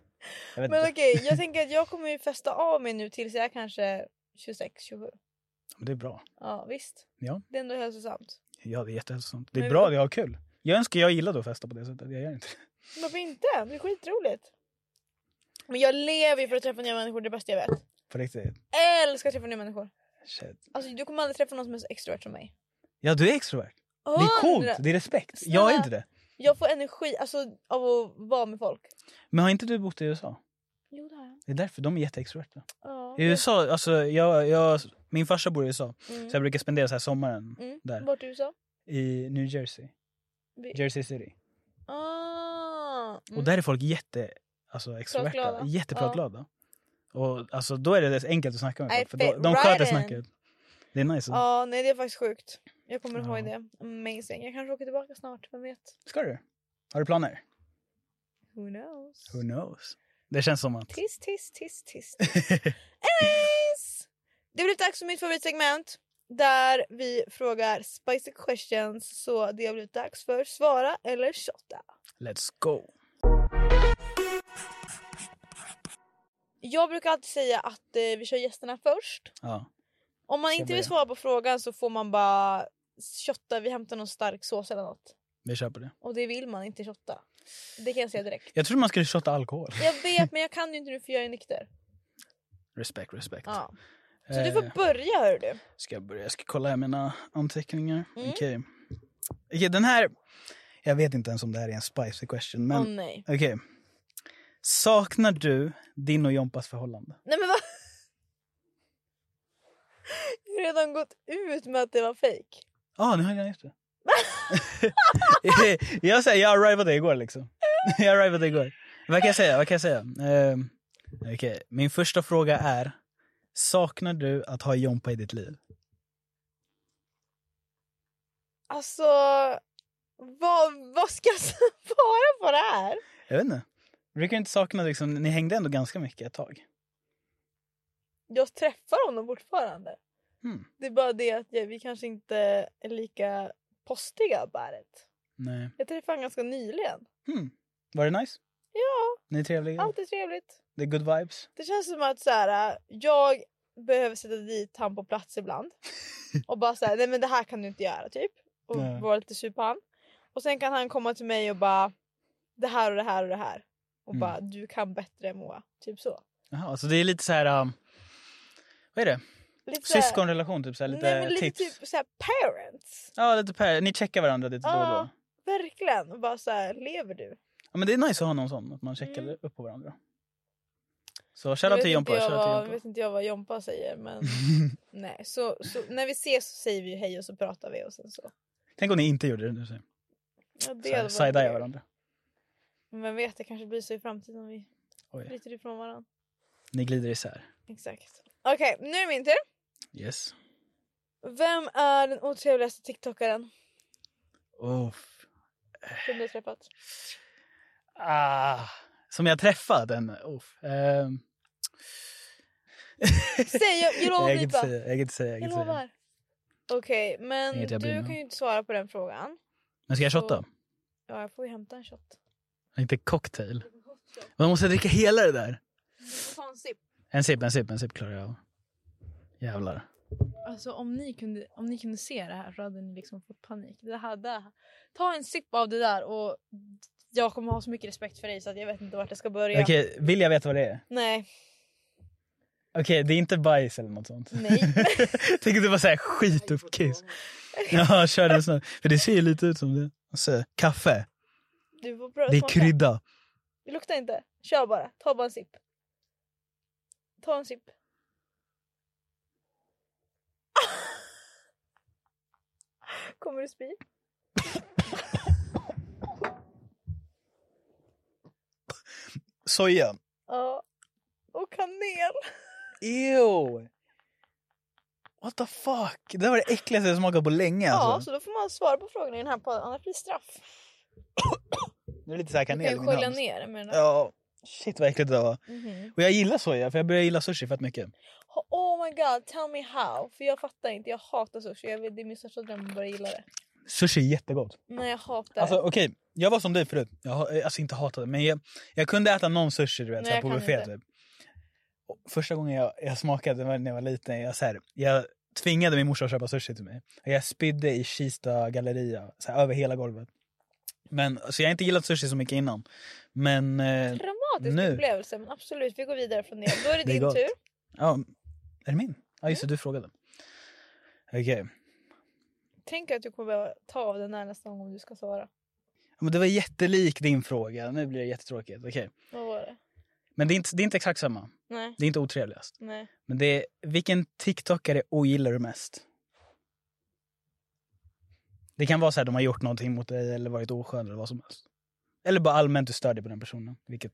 B: jag vet
A: Men
B: inte.
A: okej,
B: [LAUGHS]
A: jag tänker att jag kommer ju festa av mig nu tills jag är kanske 26, 27.
B: Men Det är bra.
A: Ja visst.
B: Ja.
A: Det är ändå hälsosamt.
B: Ja, det är jättehälsosamt. Det är
A: Men-
B: bra, det är kul. Jag önskar jag gillade att festa på det sättet. Jag gör inte det.
A: Men Varför inte? Det är skitroligt. Men jag lever ju för att träffa nya människor, det är det bästa jag vet.
B: På riktigt.
A: Älskar att träffa nya människor.
B: Shit.
A: Alltså du kommer aldrig träffa någon som är så extrovert som mig.
B: Ja, du är extrovert. Det är
A: Hundra.
B: coolt, det är respekt. Jag är
A: Snälla.
B: inte det.
A: Jag får energi alltså, av att vara med folk.
B: Men har inte du bott i USA?
A: Jo det har jag.
B: Det är därför de är jätteextroverta.
A: Ja.
B: I USA, alltså jag, jag, min farsa bor i USA.
A: Mm.
B: Så jag brukar spendera så här sommaren
A: Mm.
B: där.
A: Vart i USA?
B: I New Jersey.
A: Vi-
B: Jersey City.
A: Ah. Mm.
B: Och där är folk jätte, alltså, extroverta.
A: Pratglada.
B: Jättepratglada. Och alltså, då är det enkelt att snacka med
A: I
B: folk. För
A: fit
B: då, de
A: right
B: sköter
A: in.
B: snacket. Det är nice.
A: Mm. Ja, nej det är faktiskt sjukt. Jag kommer
B: Ja.
A: ihåg det. Amazing. Jag kanske åker tillbaka snart, vem vet?
B: Ska du? Har du planer?
A: Who knows?
B: Who knows? Det känns som att...
A: Tiss, tiss, tiss,
B: [LAUGHS]
A: tiss. Anyways! Det blir dags för mitt favoritsegment där vi frågar spicy questions. Så det har blivit dags för svara eller shotta.
B: Let's go.
A: Jag brukar alltid säga att eh, vi kör gästerna först.
B: Ja.
A: Om man
B: Ska
A: inte
B: börja.
A: vill svara på frågan så får man bara shotta. Vi hämtar någon stark sås eller något.
B: Vi kör på det.
A: Och det vill man inte shotta. Det kan jag säga direkt.
B: Jag tror man skulle shotta alkohol.
A: Jag vet men jag kan ju inte nu för jag är nykter.
B: Respekt, respekt.
A: Ja. Så du
B: Eh,
A: får börja hör du.
B: Ska jag börja? Jag ska kolla här mina anteckningar.
A: Mm.
B: Okej. Okej, den här... Jag vet inte ens om det här är en spicy question, men
A: Åh nej.
B: okej. Saknar du din och Jompas förhållande?
A: Nej men vad? Jag har redan gått ut med att det var fejk.
B: Ja, ah, nu har jag just det. [LAUGHS] jag säger, jag arrivade igår liksom. [LAUGHS] jag arrivade igår. Vad kan jag säga? Vad kan jag säga? Ehm, Okej, min första fråga är. Saknar du att ha Jompa i ditt liv?
A: Alltså, vad, vad ska [LAUGHS] jag svara på det här?
B: Jag vet inte. Brukar du inte sakna liksom, ni hängde ändå ganska mycket ett tag.
A: Jag träffar honom fortfarande.
B: Mm.
A: Det är bara det att jag, vi kanske inte är lika postiga about it.
B: Nej.
A: Jag träffade honom ganska nyligen.
B: Hmm. Var det nice?
A: Ja,
B: Ni är trevliga?
A: allt är trevligt.
B: Det är good vibes?
A: Det känns som att så här, jag behöver sätta dit han på plats
B: [LAUGHS]
A: ibland. Och bara säga nej men det här kan du inte göra typ. Och
B: Nej.
A: vara lite sur på han. Och sen kan han komma till mig och bara det här och det här och det här. Och
B: Mm.
A: bara du kan bättre Moa. Typ så.
B: Jaha, alltså det är lite så här... Um, vad är det?
A: Lite,
B: Syskonrelation, typ så här, lite
A: nej, men lite
B: tips.
A: typ såhär parents.
B: Ja, lite per, ni checkar varandra lite då och då.
A: Ja. Verkligen. Och bara såhär lever du?
B: Ja, men det är nice att ha någon sån, att man checkar
A: Mm.
B: upp på varandra. Så
A: Nu
B: shoutout
A: vet
B: till Jompa,
A: inte jag
B: shoutout
A: vad-
B: till
A: nu
B: Jompa.
A: vet inte jag vad Jompa säger
B: [LAUGHS]
A: men nej. Så, så när vi ses så säger vi ju hej och så pratar vi och sen så.
B: Tänk om ni inte gjorde det nu. så här.
A: Ja, det
B: Så här,
A: hade varit
B: Side-eye
A: weird.
B: varandra.
A: Men vem vet, det kanske blir så i framtiden om vi
B: Oj,
A: flyter ifrån varandra.
B: ni glider isär.
A: Exakt. Okej, nu är det min tur.
B: Yes.
A: Vem är den otrevligaste tiktokaren
B: Oh.
A: som du har träffat?
B: Ah. Som jag träffade en... Oh. ehm,
A: Säg, jag, jag lovar
B: [LAUGHS]
A: att
B: jag kan inte
A: blipa.
B: säga. Jag kan inte säga. Jag kan
A: Jag
B: inte säga.
A: lovar. Okej, men
B: Inget jag bryr
A: du
B: mig om.
A: kan ju inte svara på den frågan.
B: Men ska jag shotta?
A: Ja, jag får ju hämta en shot.
B: Inte cocktail. Man måste dricka hela det där.
A: Du får ta en sipp.
B: En sipp, en sipp, en sipp klarar jag av. Jävlar.
A: Alltså om ni, kunde, om ni kunde se det här så hade ni liksom fått panik. Det här, det här. Ta en sipp av det där och jag kommer ha så mycket respekt för dig så att jag vet inte vart jag ska börja.
B: Okej, vill jag veta vad det är?
A: Nej,
B: Okej, det är inte bajs eller något sånt. [LAUGHS]
A: nej.
B: Tänk att det var såhär skit och kiss. Ja, kör den snabbt. För det ser ju lite ut som det. Och så, kaffe.
A: Du får pröva
B: Det är
A: smaka.
B: krydda.
A: Det luktar inte. Kör bara. Ta bara en sipp. Ta en sipp. [LAUGHS] Kommer du spy?
B: Soja.
A: Ja. Och kanel.
B: Ew. What the fuck? Det där var det äckligaste jag smakat på länge.
A: Ja,
B: Alltså.
A: så då får man svara på frågorna i den här podden annars blir det straff.
B: Nu är det lite såhär
A: Du kan
B: kanel i
A: ju
B: min
A: skölja
B: hals.
A: ner med den här.
B: Ja. Shit vad äckligt det där var.
A: Mhm.
B: Och jag gillar soja för jag börjar gilla sushi fett mycket.
A: Ha- Oh my god, tell me how. För jag fattar inte, jag hatar sushi. Jag vet, det är min största dröm att börja gilla det.
B: Sushi är jättegott.
A: Nej jag hatar
B: Alltså
A: det.
B: okej, jag var som dig förut. Jag har, alltså inte hatat det men jag, jag kunde äta någon sushi du vet,
A: Nej,
B: så här,
A: jag
B: på
A: kan
B: buffé
A: inte.
B: typ. Och första gången jag, jag smakade det var när jag var liten, jag, så här, jag tvingade min morsa att köpa sushi till mig. Och jag spydde i Kista galleria, så här, över hela golvet. Men, så jag har inte gillat sushi så mycket innan. Men eh,
A: Dramatisk
B: nu.
A: upplevelse men absolut vi går vidare från det. Då är det,
B: Det är
A: din
B: gott.
A: tur.
B: ja, är det min? Ja
A: Mm.
B: just det, du frågade. Okej.
A: Tänk att du kommer behöva ta av den där nästa gång om du ska svara.
B: Ja, Men det var jättelik din fråga, nu blir det jättetråkigt. Okej.
A: Vad var det?
B: Men det är, inte, det är inte exakt samma.
A: Nej,
B: Det är inte otrevligast.
A: nej.
B: Men det är, vilken TikTokare ogillar du mest? Det kan vara så här, de har gjort någonting mot dig eller varit oskön eller vad som helst. Eller bara allmänt du stör dig på den personen. Vilket,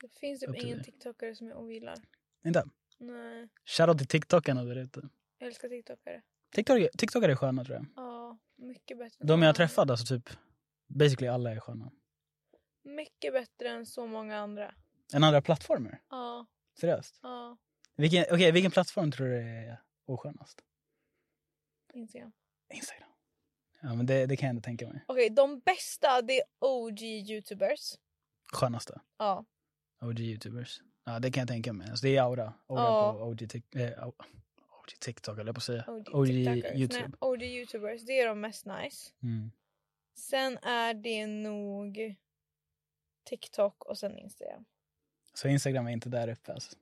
A: Det finns
B: Upp
A: typ
B: till
A: ingen
B: dig.
A: tiktokare som jag ogillar.
B: inte.
A: Nej,
B: Shoutout till TikTokarna där ute.
A: jag älskar tiktokare.
B: TikTokare, TikTokare är sköna tror jag.
A: Ja, mycket bättre. än
B: De
A: många
B: jag
A: andra.
B: träffade, alltså typ, basically alla är sköna.
A: Mycket bättre än så många andra.
B: En andra plattformer?
A: Ja,
B: Seriöst?
A: ja.
B: Vilken, okej, vilken plattform tror du är oskönast?
A: Instagram.
B: Instagram. Ja men det, det kan jag ändå tänka mig.
A: Okej, de bästa det är OG youtubers.
B: Skönaste.
A: Ja,
B: OG-youtubers. Ja, det kan jag tänka mig. Alltså, det är Aura. Aura
A: Ja.
B: på OG, tik- eh, au- OG TikTok, höll jag på att säga.
A: OG,
B: OG
A: tiktokers.
B: YouTube.
A: Nej, OG youtubers, det är de mest nice.
B: Mm.
A: Sen är det nog TikTok och sen Instagram.
B: Så Instagram är inte där uppe alltså.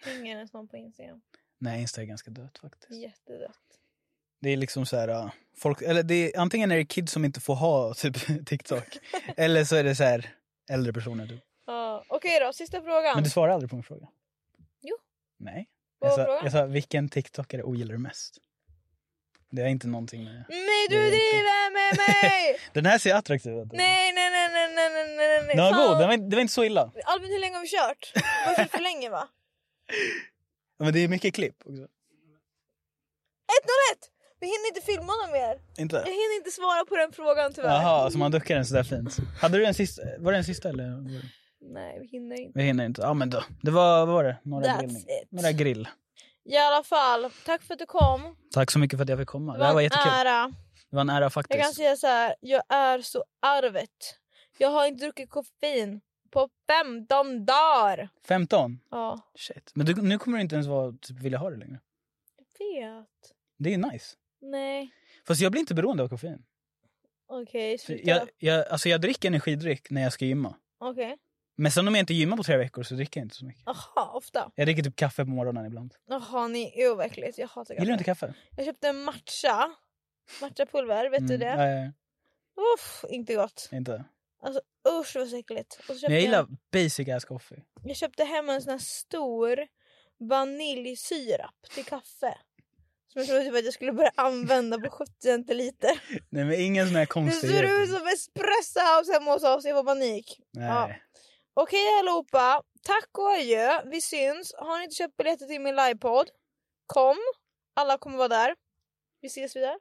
A: Hänger ens någon på Instagram?
B: Nej, Insta är ganska dött faktiskt.
A: Jättedött.
B: Det är liksom så här, ja, folk, eller det är, antingen är det kids som inte får ha
A: [LAUGHS]
B: typ [LAUGHS] TikTok. eller så är det så här äldre personer. Typ.
A: Ja, Okej då, sista frågan.
B: Men du svarar aldrig på min fråga.
A: Jo.
B: Nej.
A: Vad
B: Jag
A: var
B: sa,
A: frågan?
B: jag sa vilken TikTokare ogillar du mest? Det är inte någonting med...
A: Nej du
B: Det är inte-
A: driver med
B: [LAUGHS]
A: mig!
B: Den här ser attraktiv ut.
A: nej, nej, nej, nej, nej, nej, nej, nej.
B: Den var
A: Fan.
B: god, den var, inte- det var inte så illa.
A: Albin hur länge har vi kört? Vi har kört för länge va? [LAUGHS]
B: Ja, Men det är mycket klipp också.
A: 101! Vi hinner inte filma någon mer.
B: Inte?
A: Jag hinner inte svara på den frågan tyvärr.
B: Jaha, så man duckar den sådär fint. Hade du en sista? Var det en sista eller? var det-
A: Nej vi hinner inte.
B: Vi hinner inte. Ja men då. Det var, vad var det? Några
A: That's
B: grillning.
A: it.
B: Några grill.
A: I alla fall, tack för att du kom.
B: Tack så mycket för att jag fick komma.
A: Det
B: Det här var
A: var en
B: jättekul.
A: ära.
B: Det var en ära
A: Jag kan
B: faktiskt.
A: säga så här, jag är så arvet. Jag har inte druckit koffein på 15 dagar.
B: 15?
A: Ja,
B: Shit. Men du, nu kommer du inte ens vara, typ, vilja ha det längre.
A: jag vet.
B: Det är ju nice.
A: Nej,
B: Fast jag blir inte beroende av koffein.
A: okej,
B: För
A: sluta.
B: Jag, jag, alltså jag dricker energidryck när jag ska gymma.
A: Okej.
B: Men sen om jag inte gymmar på tre veckor så dricker jag inte så mycket.
A: Jaha, ofta.
B: Jag dricker typ kaffe på morgonen ibland.
A: Jaha, ni är overkligt. Jag hatar
B: Gillar du inte
A: kaffe.
B: kaffe?
A: Jag köpte en matcha. Matchapulver, vet du
B: Mm.
A: det?
B: Nej,
A: Uff, inte gott.
B: inte.
A: Usch vad så äckligt. Och så köpte
B: Men jag
A: jag,
B: gillar basic ass coffee.
A: jag köpte hem en sån här stor vaniljsirap till kaffe. Som jag trodde typ att jag skulle börja använda på 70
B: [LAUGHS]
A: centiliter.
B: Nej men ingen sån här
A: Det
B: konstig
A: ser
B: grej.
A: ut som espresso house hemma hos oss, jag får panik.
B: Nej.
A: Ja. Okej allihopa, tack och adjö. Vi syns. Har ni inte köpt biljetter till min livepodd, kom. Alla kommer vara där. Vi ses vi där.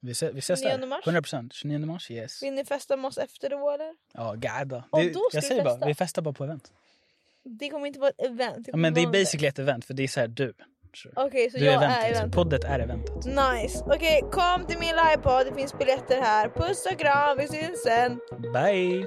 B: Vi, ses, vi ses
A: 29
B: där.
A: mars.
B: 100%. 29 mars, yes.
A: Vill ni festa med oss efter då eller?
B: Ja, gada.
A: Och
B: Det-
A: då ska
B: Jag
A: vi
B: säger bara,
A: festa.
B: vi festar bara på event.
A: Det kommer inte vara ett event.
B: Ja, men det är
A: kommer vara-
B: basically ett event, för det är så här du. tror jag.
A: Okej, så
B: du
A: jag
B: är eventet.
A: är eventet.
B: Poddet är eventet.
A: Nice. Okej, kom till min livepodd. Det finns biljetter här. Puss och kram. Vi syns sen.
B: Bye!